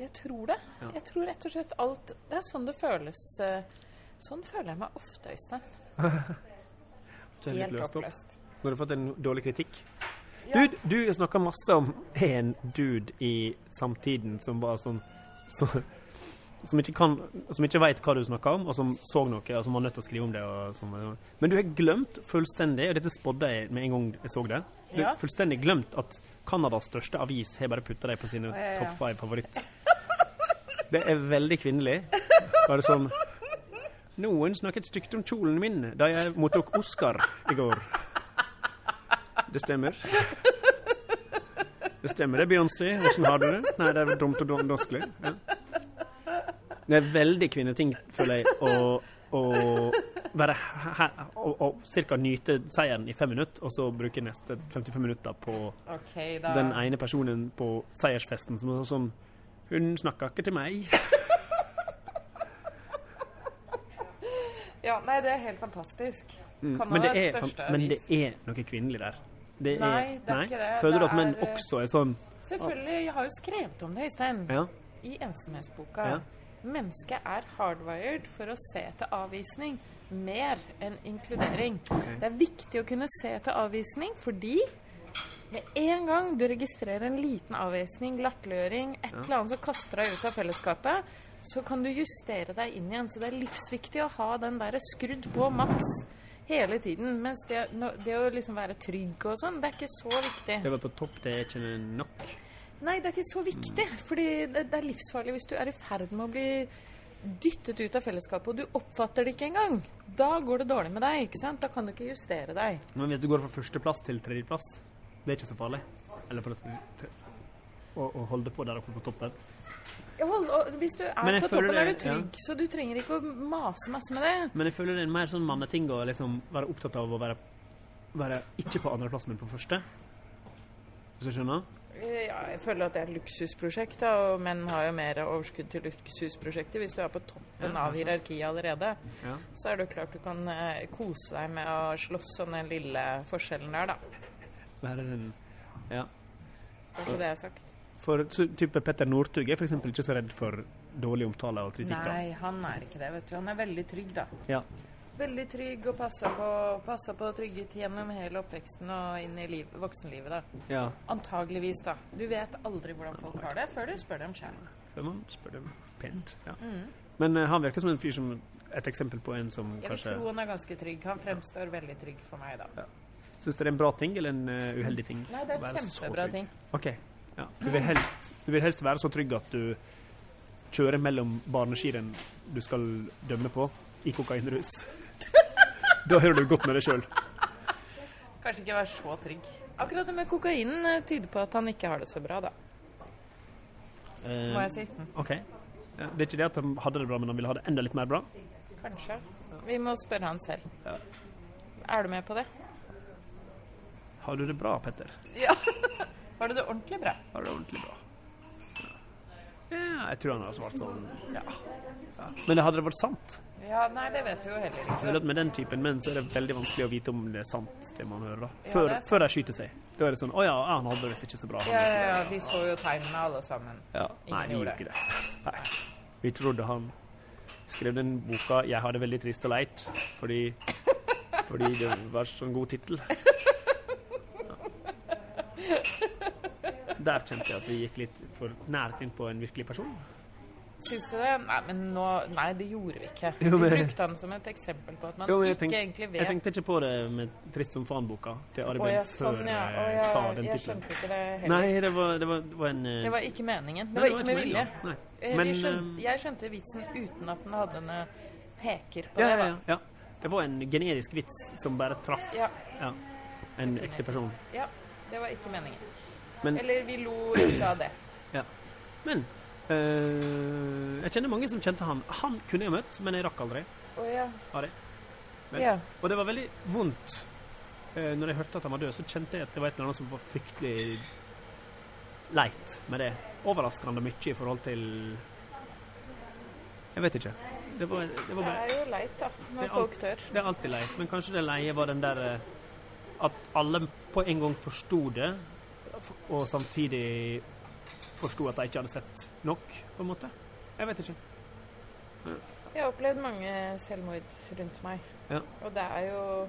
S2: Jeg tror det.
S1: Ja.
S2: Jeg tror rett og slett alt Det er sånn det føles. eh, Sånn føler jeg meg ofte, Øystein.
S1: Det er litt
S2: Helt
S1: løst opp.
S2: oppløst.
S1: Nå har du fått en dårlig kritikk.
S2: Ja.
S1: Du, du snakka masse om en dude i samtiden som var sånn så, Som ikke, kan- som ikke veit hva du snakker om, og som så noe, og som var nødt til å skrive om det. Og sånn. Men du har glemt fullstendig, og dette spådde jeg med en gang jeg så det Du
S2: Ja.
S1: har fullstendig glemt at Canadas største avis har bare putta dem på sine
S2: ja, ja.
S1: topp five favoritt. Det er veldig kvinnelig. Bare sånn Noen snakket stygt om kjolen min da jeg mottok Oscar i går. Det stemmer. Det stemmer det, Beyoncé. Hvordan har du det? Nei, det er vel dumt og dum- danskelig. Ja. Det er veldig kvinneting, føler jeg, å, å være her og, og cirka nyte seieren i fem minutter, og så bruke neste 55 minutter på
S2: OK, da.
S1: den ene personen på seiersfesten som er sånn Hun snakka ikke til meg.
S2: Ja, nei, det er helt fantastisk. Canadas
S1: Mm. Men det er,
S2: største
S1: men det
S2: avis.
S1: er noe kvinnelig der. Det er,
S2: Nei, det er ikke det.
S1: Føler du
S2: Det
S1: at menn
S2: er, eh,
S1: også er sånn
S2: Selvfølgelig. Jeg har jo skrevet om det, Øystein.
S1: Ja.
S2: I ensomhetsboka.
S1: Ja.
S2: Mennesket er hardwired for å se til avvisning mer enn inkludering. Det er viktig å kunne se til avvisning fordi med en gang du registrerer en liten avvisning, latterliggjøring, et eller annet som kaster deg ut av fellesskapet, så kan du justere deg inn igjen. Så det er livsviktig å ha den der skrudd på maks hele tiden. Mens det, nå- det å liksom være trygg og sånn, det er ikke så viktig.
S1: Det var på topp, det er ikke nok.
S2: Nei, det er ikke så viktig. Fordi det, det er livsfarlig hvis du er i ferd med å bli dyttet ut av fellesskapet, og du oppfatter det ikke engang. Da går det dårlig med deg. ikke sant? Da kan du ikke justere deg.
S1: Men hvis du går fra førsteplass til tredjeplass, det er ikke så farlig. Eller for at til, å, å holde på der oppe på toppen.
S2: Ja, hold, og hvis du
S1: Men
S2: er
S1: jeg
S2: på
S1: føler
S2: toppen, er
S1: det-
S2: du trygg, så du trenger ikke å mase masse med det.
S1: Men jeg føler det er en mer sånn manneting å liksom være opptatt av å være, være ikke på andreplass, men på første. Hvis du skjønner?
S2: Eh, Ja, jeg føler at det er et luksusprosjekt, da, og menn har jo mer overskudd til luksusprosjekter. Hvis du er på toppen av hierarkiet allerede,
S1: Ja.
S2: så er det jo klart du kan eh, kose deg med å slåss om den lille forskjellen der, da.
S1: Være den Ja.
S2: Det er så det jeg har sagt.
S1: For så, type Petter Northug er for eksempel ikke så redd for dårlig omtale og kritikk. da.
S2: Nei, han er ikke det, vet du. Han er veldig trygg, da.
S1: Ja.
S2: Veldig trygg og passer på, passer på trygghet gjennom hele oppveksten og inn i liv, voksenlivet, da.
S1: ja.
S2: Antageligvis, da. Du vet aldri hvordan folk har det før du spør dem sjøl.
S1: Før man spør dem pent. Ja. Men eh, han virker som en fyr som et eksempel på en som
S2: Mm. Jeg vil
S1: kanskje
S2: tro han er ganske trygg. Han fremstår veldig trygg for meg, da.
S1: Syns det er en bra ting eller en eh, uheldig ting?
S2: Nei, det
S1: å
S2: er
S1: være så
S2: kjempebra
S1: trygg?
S2: ting.
S1: OK. Ja. Du, vil helst, du vil helst være så trygg at du kjører mellom barneskirenn du skal dømme på, i
S2: [laughs]
S1: kokainrus. da hører du godt med deg sjøl.
S2: Kanskje ikke være så trygg. Akkurat det med kokainen
S1: Mm.
S2: eh, tyder på at han ikke har det så bra, da. Må jeg si.
S1: OK. Ja, det er ikke det at han hadde det bra, men han ville ha det enda litt mer bra.
S2: Kanskje. Vi må spørre han selv.
S1: Ja.
S2: Er du med på det?
S1: Har du det bra, Petter?
S2: Ja. Var det det ordentlig bra?
S1: Har du det ordentlig bra? Ja, ja jeg tror han har svart sånn, ja. ja. Men hadde det vært sant?
S2: Ja, nei, det vet vi jo heller
S1: Jeg føler
S2: ikke.
S1: at Med den typen menn så er det veldig vanskelig å vite om det er sant, det man hører. da.
S2: Ja,
S1: Før,
S2: det er sant.
S1: før de skyter seg. Da er det sånn Å ja, han hadde det visst ikke så bra. han
S2: Ja,
S1: er
S2: ja,
S1: ikke
S2: ja,
S1: det».
S2: vi så jo tegnene alle sammen.
S1: Ja.
S2: Ingen
S1: Nei, vi gjorde
S2: gjorde
S1: ikke det. Nei. Vi trodde han skrev den boka 'Jeg har det veldig trist og leit', fordi, fordi det var sånn god tittel. Ja. Der kjente jeg at vi gikk litt for nært inn på en virkelig person.
S2: Syns du det? Nei, men nå, nei, det gjorde vi ikke. Vi
S1: Jo, men-
S2: brukte han som et eksempel på at man
S1: Jo, men jeg
S2: ikke
S1: tenk-
S2: egentlig
S1: Jeg
S2: vet.
S1: tenkte ikke på det med 'Trist som faen'-boka til Ari
S2: Å ja,
S1: Behn
S2: sånn,
S1: før eh,
S2: ja. Å
S1: jeg
S2: ja,
S1: sa den
S2: jeg
S1: tittelen.
S2: skjønte ikke det heller.
S1: Nei, det var, det var, det var en eh,
S2: Det var ikke meningen. Det
S1: nei,
S2: var ikke med vilje.
S1: Nei.
S2: Eh,
S1: Men
S2: vi skjønte,
S1: eh,
S2: jeg skjønte vitsen uten at den hadde en eh, peker på
S1: ja, ja,
S2: det.
S1: ja, ja. Det var en generisk vits som bare traff
S2: da. Ja,
S1: ja, en ekte person.
S2: ja, det var ikke meningen.
S1: Men-
S2: Eller vi lo ikke av det.
S1: Ja. Men eh, jeg kjenner mange som kjente han. Han kunne jeg møtt, men jeg rakk aldri.
S2: Å ja.
S1: Ari. Men,
S2: Ja.
S1: Og det var veldig vondt. Eh, når jeg hørte at han var død, så kjente jeg at det var et eller annet som var fryktelig leit med det. Overraskende mye i forhold til Jeg vet ikke. Det var, det var
S2: Det
S1: bare
S2: er jo leit, da,
S1: Det er
S2: når
S1: alt-
S2: folk tør.
S1: Det er alltid leit, men kanskje det leie var den der eh, At alle på en gang forsto det, og samtidig forsto at de ikke hadde sett nok, på en måte. Jeg vet ikke.
S2: Jeg har opplevd mange selvmord rundt meg.
S1: Ja.
S2: Og det er jo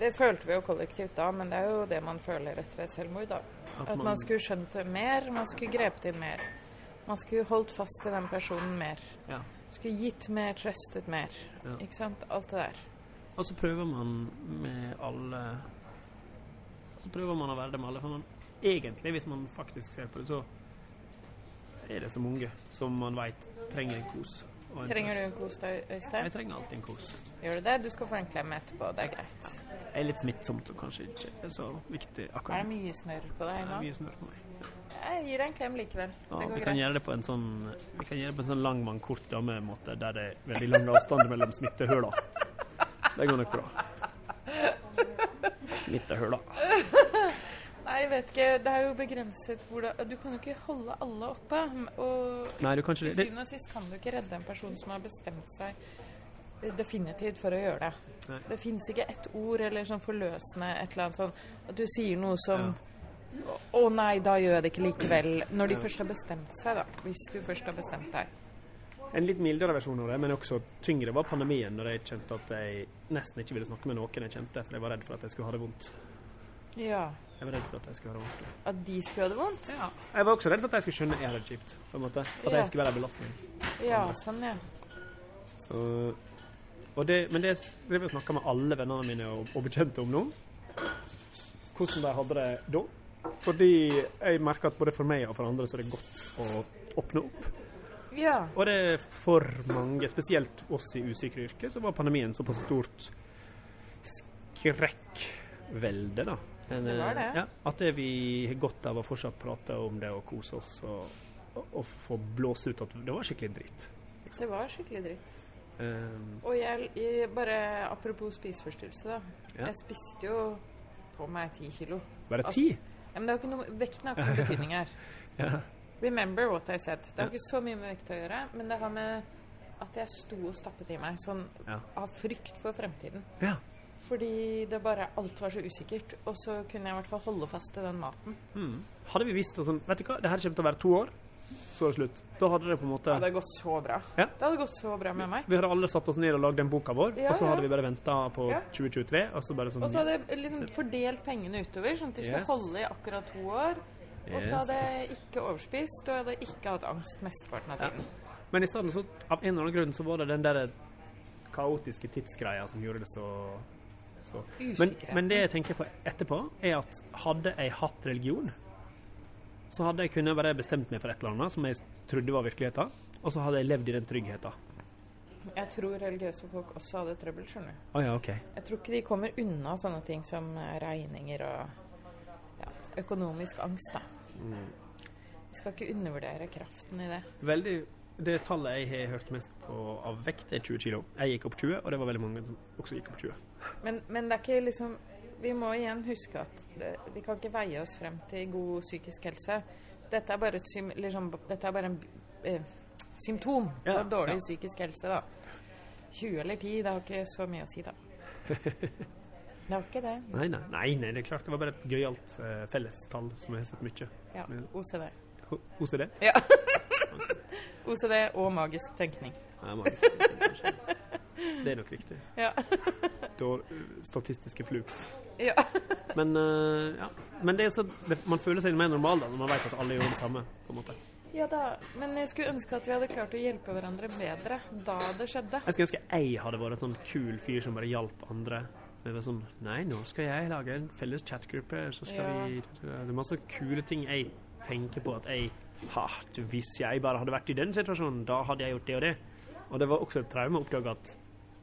S2: Det følte vi jo kollektivt da, men det er jo det man føler etter et selvmord, da. At man skulle skjønt det mer, man skulle grepet inn mer. Man skulle holdt fast i den personen mer.
S1: ja.
S2: Skulle gitt mer, trøstet mer.
S1: Ja.
S2: Ikke sant? Alt det der.
S1: Og så prøver man med alle Så prøver man å være det med alle, for man egentlig, hvis man faktisk ser på det, så er det så mange som man veit trenger en kos. og en
S2: Trenger du
S1: trøst.
S2: en kos, da,
S1: Jeg
S2: Øystein?
S1: trenger alltid en kos.
S2: Gjør du det? Du skal få en klem etterpå, det er greit.
S1: Det er litt smittsomt og kanskje ikke er så viktig
S2: Er
S1: akkurat
S2: det mye snørr på deg
S1: Det er
S2: nå?
S1: mye snørr på meg.
S2: Jeg gir deg en klem likevel.
S1: Ja,
S2: Det
S1: vi
S2: går
S1: kan
S2: greit.
S1: gjøre det på en sånn Vi kan gjøre det på en sånn lang mann, kort dame-måte, der det er veldig lang avstand mellom smittehøla. Det går nok bra. Smittehøla.
S2: Nei, jeg vet ikke. Det er jo begrenset hvordan Du kan jo ikke holde alle oppe. Og
S1: Nei, du kan ikke
S2: til
S1: det.
S2: syvende og sist kan du ikke redde en person som har bestemt seg eh, definitivt for å gjøre det.
S1: Nei.
S2: Det fins ikke ett ord eller sånn forløsende et eller annet sånn at du sier noe som Å nei, da gjør jeg det ikke likevel. Når de først har bestemt seg, da. Hvis du først har bestemt deg.
S1: En litt mildere versjon av det, men også tyngre, var pandemien, når jeg kjente at jeg nesten ikke ville snakke med noen jeg kjente, for jeg var redd for at jeg skulle ha det vondt.
S2: Ja.
S1: Jeg var redd for at jeg skulle ha det vanskelig.
S2: At de skulle ha det vondt? Ja.
S1: Jeg var også redd for at jeg skulle skjønne at jeg hadde det kjipt, på en måte. At
S2: Ja.
S1: jeg skulle være en belastning.
S2: ja sånn, ja.
S1: Så, og det, men det driver jeg og snakker med alle vennene mine og, og bekjente om nå. Hvordan de hadde det da. Fordi jeg merker at både for meg og for andre så er det godt å åpne opp.
S2: Ja.
S1: Og det er for mange, spesielt oss i usikre yrker, så var pandemien såpass stort skrekkvelde, da. Men,
S2: Det var det.
S1: eh, Ja, at det vi har godt av å fortsatt prate om det og kose oss og, og, og få blåse ut at det var skikkelig dritt.
S2: Det var skikkelig dritt.
S1: Eh,
S2: Og jeg, jeg bare Apropos spiseforstyrrelse, da.
S1: Ja.
S2: Jeg spiste jo på meg ti kilo.
S1: bare
S2: Altså-
S1: ti?
S2: Ja, men det har ikke noe, vekten
S1: [laughs]
S2: har ikke noen betydning her.
S1: Ja.
S2: Remember what I said. Det
S1: Ja.
S2: har ikke så mye med vekt å gjøre, men det har med at jeg sto og stappet i meg sånn
S1: Ja.
S2: av frykt for fremtiden.
S1: Ja.
S2: Fordi det bare alt var så usikkert. Og så kunne jeg i hvert fall holde fast til den maten.
S1: Mm. Hadde vi visst det sånn Vet du hva, det her kommer til å være to år, så er det slutt. Da hadde det på en måte
S2: Det hadde gått så bra.
S1: Ja.
S2: Det hadde gått så bra med meg.
S1: Vi hadde alle satt oss ned og lagd den boka vår,
S2: Ja,
S1: og så
S2: ja.
S1: hadde vi bare venta på
S2: Ja.
S1: 2023, og så bare sånn
S2: Og så hadde jeg liksom fordelt pengene utover, sånn at de skulle
S1: Yes.
S2: holde i akkurat to år. Og
S1: Yes.
S2: så hadde jeg ikke overspist, og jeg hadde ikke hatt angst mesteparten av tiden.
S1: Men i stedet så, av en eller annen grunn, så var det den der kaotiske tidsgreia som gjorde det så, så. Men,
S2: Usikkerheten.
S1: men det jeg tenker på etterpå, er at hadde jeg hatt religion, så hadde jeg kunnet bare bestemt meg for et eller annet som jeg trodde var virkeligheten, og så hadde jeg levd i den tryggheten.
S2: Jeg tror religiøse folk også hadde trøbbel, skjønner du.
S1: Å ja, OK.
S2: Jeg tror ikke de kommer unna sånne ting som eh, regninger og ja,
S1: Mm.
S2: økonomisk angst, da. Vi skal ikke undervurdere kraften i det.
S1: Veldig Det tallet jeg har hørt mest på av vekt, er 20 kilo. Jeg gikk opp 20, og det var veldig mange som også gikk opp 20.
S2: Men, men det er ikke liksom Vi må igjen huske at det, vi kan ikke veie oss frem til god psykisk helse. Dette er bare et sym, liksom, dette er bare en eh, symptom på
S1: Ja,
S2: dårlig
S1: ja.
S2: psykisk helse, da. 20 eller 10, det har ikke så mye å si,
S1: [laughs]
S2: da. Det har ikke det.
S1: Nei, nei, nei, nei, det er klart. Det var bare et gøyalt uh, fellestall som jeg har sett mye.
S2: Ja,
S1: Men-
S2: OCD.
S1: [laughs] Ho- OCD?
S2: Ja. [laughs] OCD og magisk tenkning.
S1: Nei, mange. [laughs] Det er nok viktig.
S2: Ja.
S1: Da, eh, statistiske flukes.
S2: ja.
S1: Men, eh, ja. Men det er så, det, man føler seg mer normal da, når man vet at alle gjør det samme. på en måte.
S2: Ja da, men jeg skulle ønske at vi hadde klart å hjelpe hverandre bedre da det skjedde.
S1: Jeg skulle ønske jeg hadde vært en sånn kul fyr som bare hjalp andre. Men det var sånn Nei, nå skal jeg lage en felles chatgruppe, så skal
S2: Ja.
S1: vi Det er masse kule ting jeg tenker på at jeg ha, du, Hvis jeg bare hadde vært i den situasjonen, da hadde jeg gjort det og det. Og det var også et traume å oppdage at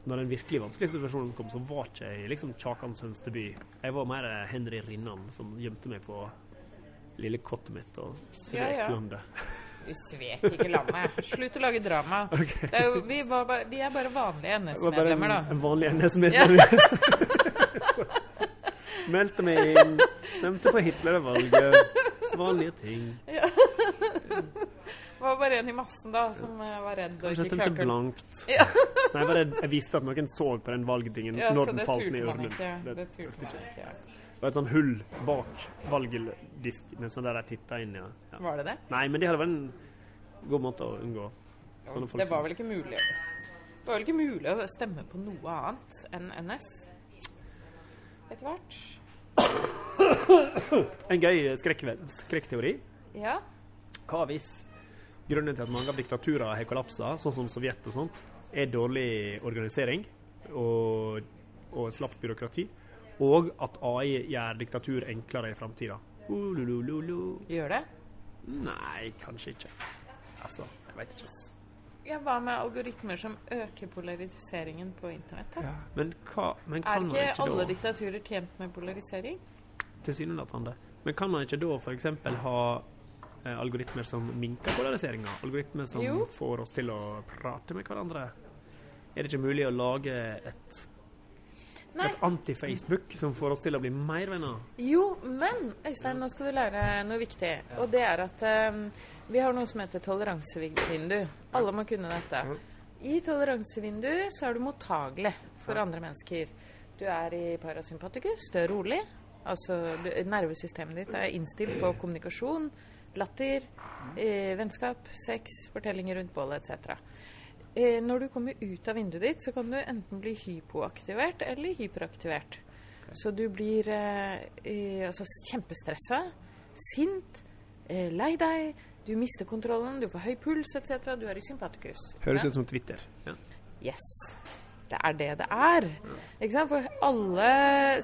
S1: når den virkelig vanskelige situasjonen kom, så var ikke jeg liksom Kjakans hønseby. Jeg var mer eh, Henry Rinnan som gjemte meg på lille kottet mitt og
S2: Ja,
S1: skrek
S2: ja.
S1: landet.
S2: Du svek ikke landet. Slutt å lage drama.
S1: Ok.
S2: Det er jo, vi, var bare, vi er bare vanlige
S1: Det var bare en,
S2: NS-medlemmer, da.
S1: en vanlig NS-medlem. [laughs] Meldte meg inn, stemte på Hitler-valget. Vanlige ting.
S2: Det var bare en i massen da som eh, var redd og
S1: Kanskje jeg
S2: ikke
S1: stemte
S2: klarte å-
S1: blankt.
S2: Ja.
S1: Nei, bare jeg visste at noen så på den valgdingen
S2: Ja, så
S1: når den
S2: det
S1: falt ned i
S2: turte man
S1: urnen.
S2: ikke.
S1: Så
S2: Det
S1: Det
S2: turte man ikke.
S1: var et sånn hull bak valgdisken, sånn der jeg titta inn. Ja. Ja.
S2: Var det det?
S1: Nei, men det hadde vært en god måte å unngå sånne folk.
S2: Det var vel ikke mulig Det var vel ikke mulig å stemme på noe annet enn NS etter hvert?
S1: En gøy skrekkve- skrekkteori.
S2: Ja.
S1: Hva hvis grunnen til at mange av diktaturer har kollapsa, sånn som Sovjet og sånt, er dårlig organisering og, og et slapt byråkrati, og at AI gjør diktatur enklere i framtida? Ulululu.
S2: Gjør det?
S1: Nei, kanskje ikke. Altså, jeg veit ikke.
S2: Ja, hva med algoritmer som øker polariseringen på internett? da?
S1: Men hva men
S2: Er
S1: kan man
S2: ikke alle
S1: ikke da
S2: diktaturer tjent med polarisering?
S1: Tilsynelatende. Men kan man ikke da f.eks. ha eh, algoritmer som minker polariseringa? Algoritmer som
S2: Jo.
S1: får oss til å prate med hverandre? Er det ikke mulig å lage et
S2: Nei.
S1: Et anti-Facebook som får oss til å bli mer venner.
S2: Jo, men Øystein, nå skal du lære noe viktig. Og det er at eh, vi har noe som heter toleransevindu. Alle må kunne dette. I toleransevindu så er du mottagelig for andre mennesker. Du er i parasympatikus, du er rolig. Altså du, nervesystemet ditt er innstilt på kommunikasjon, latter, eh, vennskap, sex, fortellinger rundt bålet etc. Eh, når du kommer ut av vinduet ditt, så kan du enten bli hypoaktivert eller hyperaktivert. Så du blir eh, eh, altså kjempestressa, sint, eh, lei deg, du mister kontrollen, du får høy puls etc. Du er i sympatikus.
S1: Høres ut som Twitter. Ja.
S2: Yes. Det er det det er. Ikke sant? For alle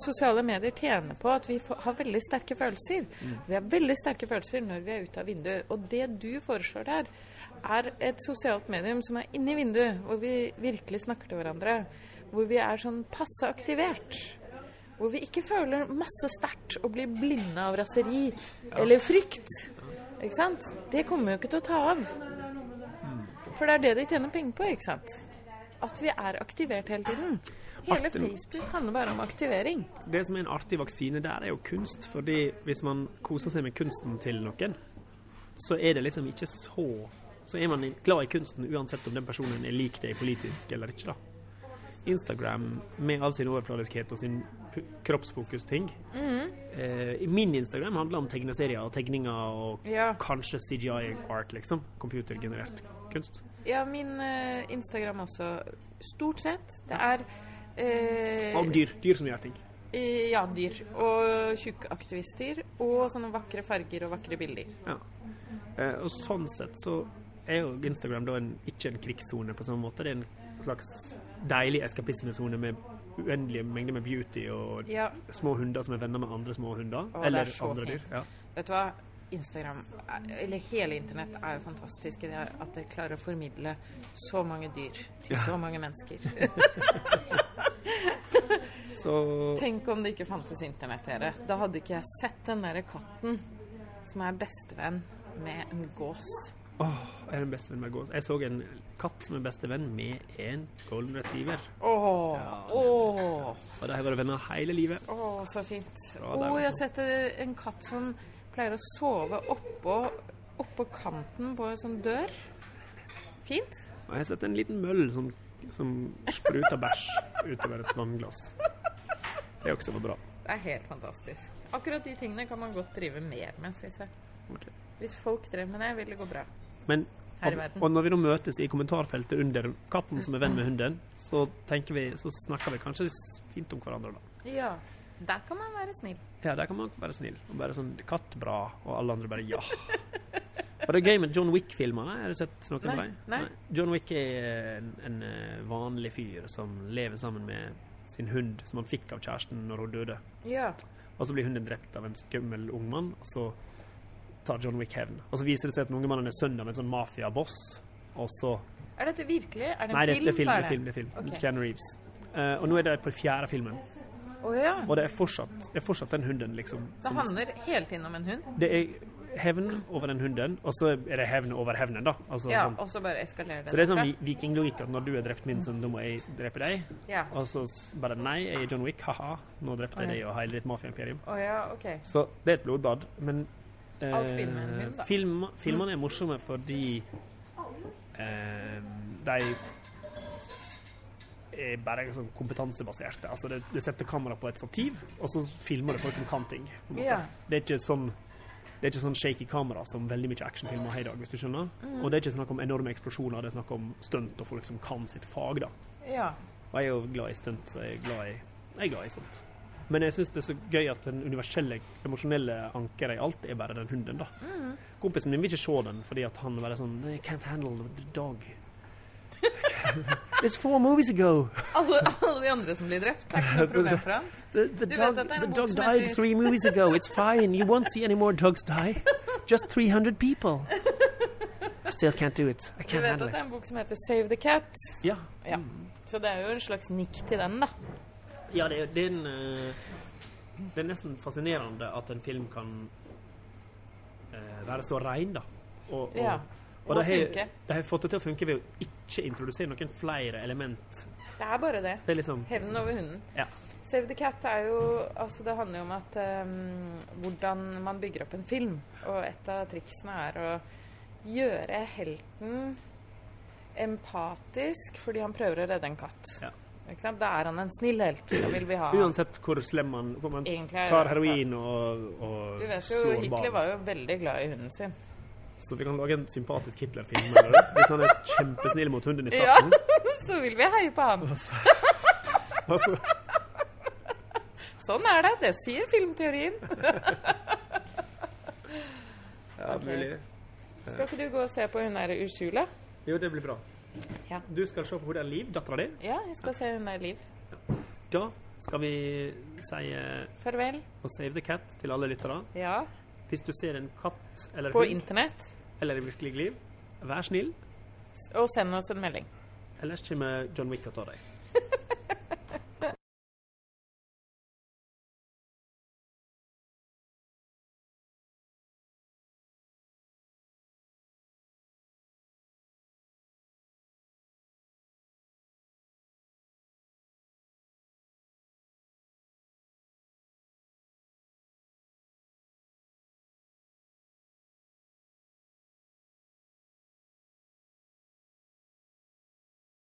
S2: sosiale medier tjener på at vi får- har veldig sterke følelser. Vi har veldig sterke følelser når vi er ute av vinduet. Og det du foreslår der, er et sosialt medium som er inni vinduet, hvor vi virkelig snakker til hverandre. Hvor vi er sånn passe aktivert. Hvor vi ikke føler masse sterkt og blir blinde av raseri eller frykt. Ikke sant? Det kommer jo ikke til å ta av. For det er det de tjener penger på, ikke sant? At vi er aktivert hele tiden. Hele
S1: Martin.
S2: Facebook handler bare om aktivering.
S1: Det som er en artig vaksine der, er jo kunst. Fordi hvis man koser seg med kunsten til noen, så er det liksom ikke så Så er man glad i kunsten uansett om den personen er lik deg politisk eller ikke, da. Instagram med all sin overfladiskhet og sin p- kroppsfokus-ting.
S2: Mm-hmm.
S1: Eh, min Instagram handler om tegneserier og tegninger og
S2: Ja.
S1: kanskje CGI-art, liksom. Computergenerert kunst.
S2: Ja, min eh, Instagram også. Stort sett. Det er eh,
S1: Om dyr. Dyr som gjør ting.
S2: eh, Ja, dyr. Og tjukkaktivister. Og sånne vakre farger og vakre bilder.
S1: Ja. Eh, og sånn sett så er jo Instagram da en, ikke en krigssone på sånn måte. Det er en slags deilig eskapismesone med uendelige mengder med beauty og
S2: Ja.
S1: små hunder som er venner med andre små hunder.
S2: det er
S1: eller
S2: så
S1: andre
S2: fint.
S1: dyr. Ja.
S2: Vet du hva? Instagram, er- eller hele internett, er jo fantastisk i det at det klarer å formidle så mange dyr til så mange mennesker.
S1: Så
S2: Tenk om det ikke fantes internett, dere. Da hadde ikke jeg sett den derre katten som er bestevenn med en gås.
S1: Åh, jeg er den beste vennen med gås. Jeg så en katt som er bestevenn med en golden retriever.
S2: Åh, åh,
S1: Og de har vært venner hele livet.
S2: åh, så fint.
S1: Ja, det er
S2: Åh, jeg
S1: veldig
S2: har sett eh, en katt som pleier å sove oppå, oppå kanten på en sånn dør. Fint.
S1: Og jeg har sett en liten møll som, som spruter bæsj utover et vannglass. Det også var bra.
S2: Det er helt fantastisk. Akkurat de tingene kan man godt drive mer med, synes jeg.
S1: Ok.
S2: Hvis folk drev med det, vil det gå bra.
S1: Men
S2: Her i
S1: og-
S2: verden.
S1: og når vi nå møtes i kommentarfeltet under katten som er venn med hunden, så, tenker vi, så snakker vi kanskje s- fint om hverandre da.
S2: Ja, der kan man være snill.
S1: Ja, der kan man være snill. Og bare sånn katt bra, og alle andre bare ja. Og det er gøy med John Wick-filmene. Har du sett noen av
S2: Nei,
S1: dem?
S2: nei.
S1: John Wick er en, en eh, vanlig fyr som lever sammen med sin hund, som han fikk av kjæresten når hun døde.
S2: Ja.
S1: Og så blir hunden drept av en skummel ung mann, og så tar John Wick hevn. Og så viser det seg at den unge mannen er sønnen av en sånn mafiaboss, og så
S2: Er dette virkelig? Er det en
S1: Nei, det
S2: film?
S1: er film.
S2: bare?
S1: Det er film, det er film.
S2: Ok.
S1: Keanu Reeves. Eh, og nå er det på fjerde filmen,
S2: Å ja.
S1: og det er fortsatt, det er fortsatt den hunden, liksom.
S2: Det handler hele tiden om en hund.
S1: det er hevn over den hunden, og så er det hevn over hevnen, da. Altså,
S2: Ja,
S1: sånn.
S2: og så bare eskalerer det.
S1: Så det er sånn
S2: derfra.
S1: vi- vikinglogikk at når du har drept min sønn, da må jeg drepe deg.
S2: Ja.
S1: Og så s- bare nei, jeg er John Wick, ha-ha, nå drepte jeg
S2: Oi.
S1: deg og hele ditt mafiaimperium.
S2: Å ja, ok.
S1: Så det er et blodbad, men eh,
S2: Alt filmen er Mm. en film, da.
S1: film, filmene er morsomme fordi eh, de er bare sånn kompetansebaserte. Altså, det, du setter kamera på et stativ, og så filmer du folk som kan ting. på en måte.
S2: Ja.
S1: Det er ikke sånn det er ikke sånn shaky kamera som veldig mye actionfilmer har i dag. hvis du skjønner.
S2: Mm.
S1: Og det er ikke snakk om enorme eksplosjoner, det er snakk om stunt og folk som kan sitt fag. da.
S2: Ja.
S1: Og jeg er jo glad i stunt, så jeg er glad i, jeg er glad i sånt. Men jeg syns det er så gøy at den universelle, emosjonelle ankeret i alt er bare den hunden, da.
S2: Mm.
S1: Kompisen min vil ikke se den fordi at han bare sånn I can't handle the dog. It's four movies ago.
S2: Alle, alle de andre som blir drept, det
S1: [laughs]
S2: er ikke noe problem for han.
S1: The, the
S2: vet
S1: dog,
S2: at det er en
S1: the
S2: bok
S1: dog
S2: som
S1: died
S2: heter-
S1: three movies ago. It's fine. You won't see any more dogs die. Just 300
S2: [laughs]
S1: people. I still can't do it. I
S2: Du
S1: can't
S2: vet at
S1: handle
S2: det
S1: it.
S2: er en bok som heter Save the Cat.
S1: Ja,
S2: Ja. Så det er jo en slags nikk til den, da.
S1: Ja, det, er- det, er en, eh, det er nesten fascinerende at en film kan eh, være så rein, da. Og, og,
S2: Ja,
S1: og
S2: og
S1: det har,
S2: funke.
S1: det har fått det til å funke ved å ikke introdusere noen flere element.
S2: Det er bare det.
S1: Det er liksom
S2: Hevnen over hunden.
S1: Ja.
S2: Save the Cat er jo Altså, det handler jo om at eh, hvordan man bygger opp en film. Og et av triksene er å gjøre helten empatisk fordi han prøver å redde en katt.
S1: Ja.
S2: Ikke sant? Da er han en snill helt. Da vil vi ha
S1: [clears throat]
S2: han.
S1: Uansett hvor slem man hvor man
S2: Egentlig er det
S1: tar
S2: altså-
S1: heroin og, og
S2: Du vet jo,
S1: slår
S2: Hitler
S1: barn.
S2: var jo veldig glad i hunden sin.
S1: Så vi kan lage en sympatisk Hitler-film. eller? Hvis han er kjempesnill mot hunden i
S2: Ja, [laughs]
S1: starten.
S2: så vil vi heie på han.
S1: og så-
S2: Sånn er det. Det sier filmteorien.
S1: Ja,
S2: Ok.
S1: mulig.
S2: Skal ikke du gå og se på hun der Ursula?
S1: Jo, det blir bra.
S2: Ja.
S1: Du skal se på hun der Liv, dattera di.
S2: Ja, jeg skal se hun der Liv.
S1: Da skal vi si eh,
S2: Farvel.
S1: og Save the Cat til alle lyttere.
S2: Ja.
S1: Hvis du ser en katt eller
S2: På
S1: hund
S2: internett.
S1: eller i virkelig liv, vær snill,
S2: Og send oss en melding.
S1: ellers kommer John Wick og tar deg.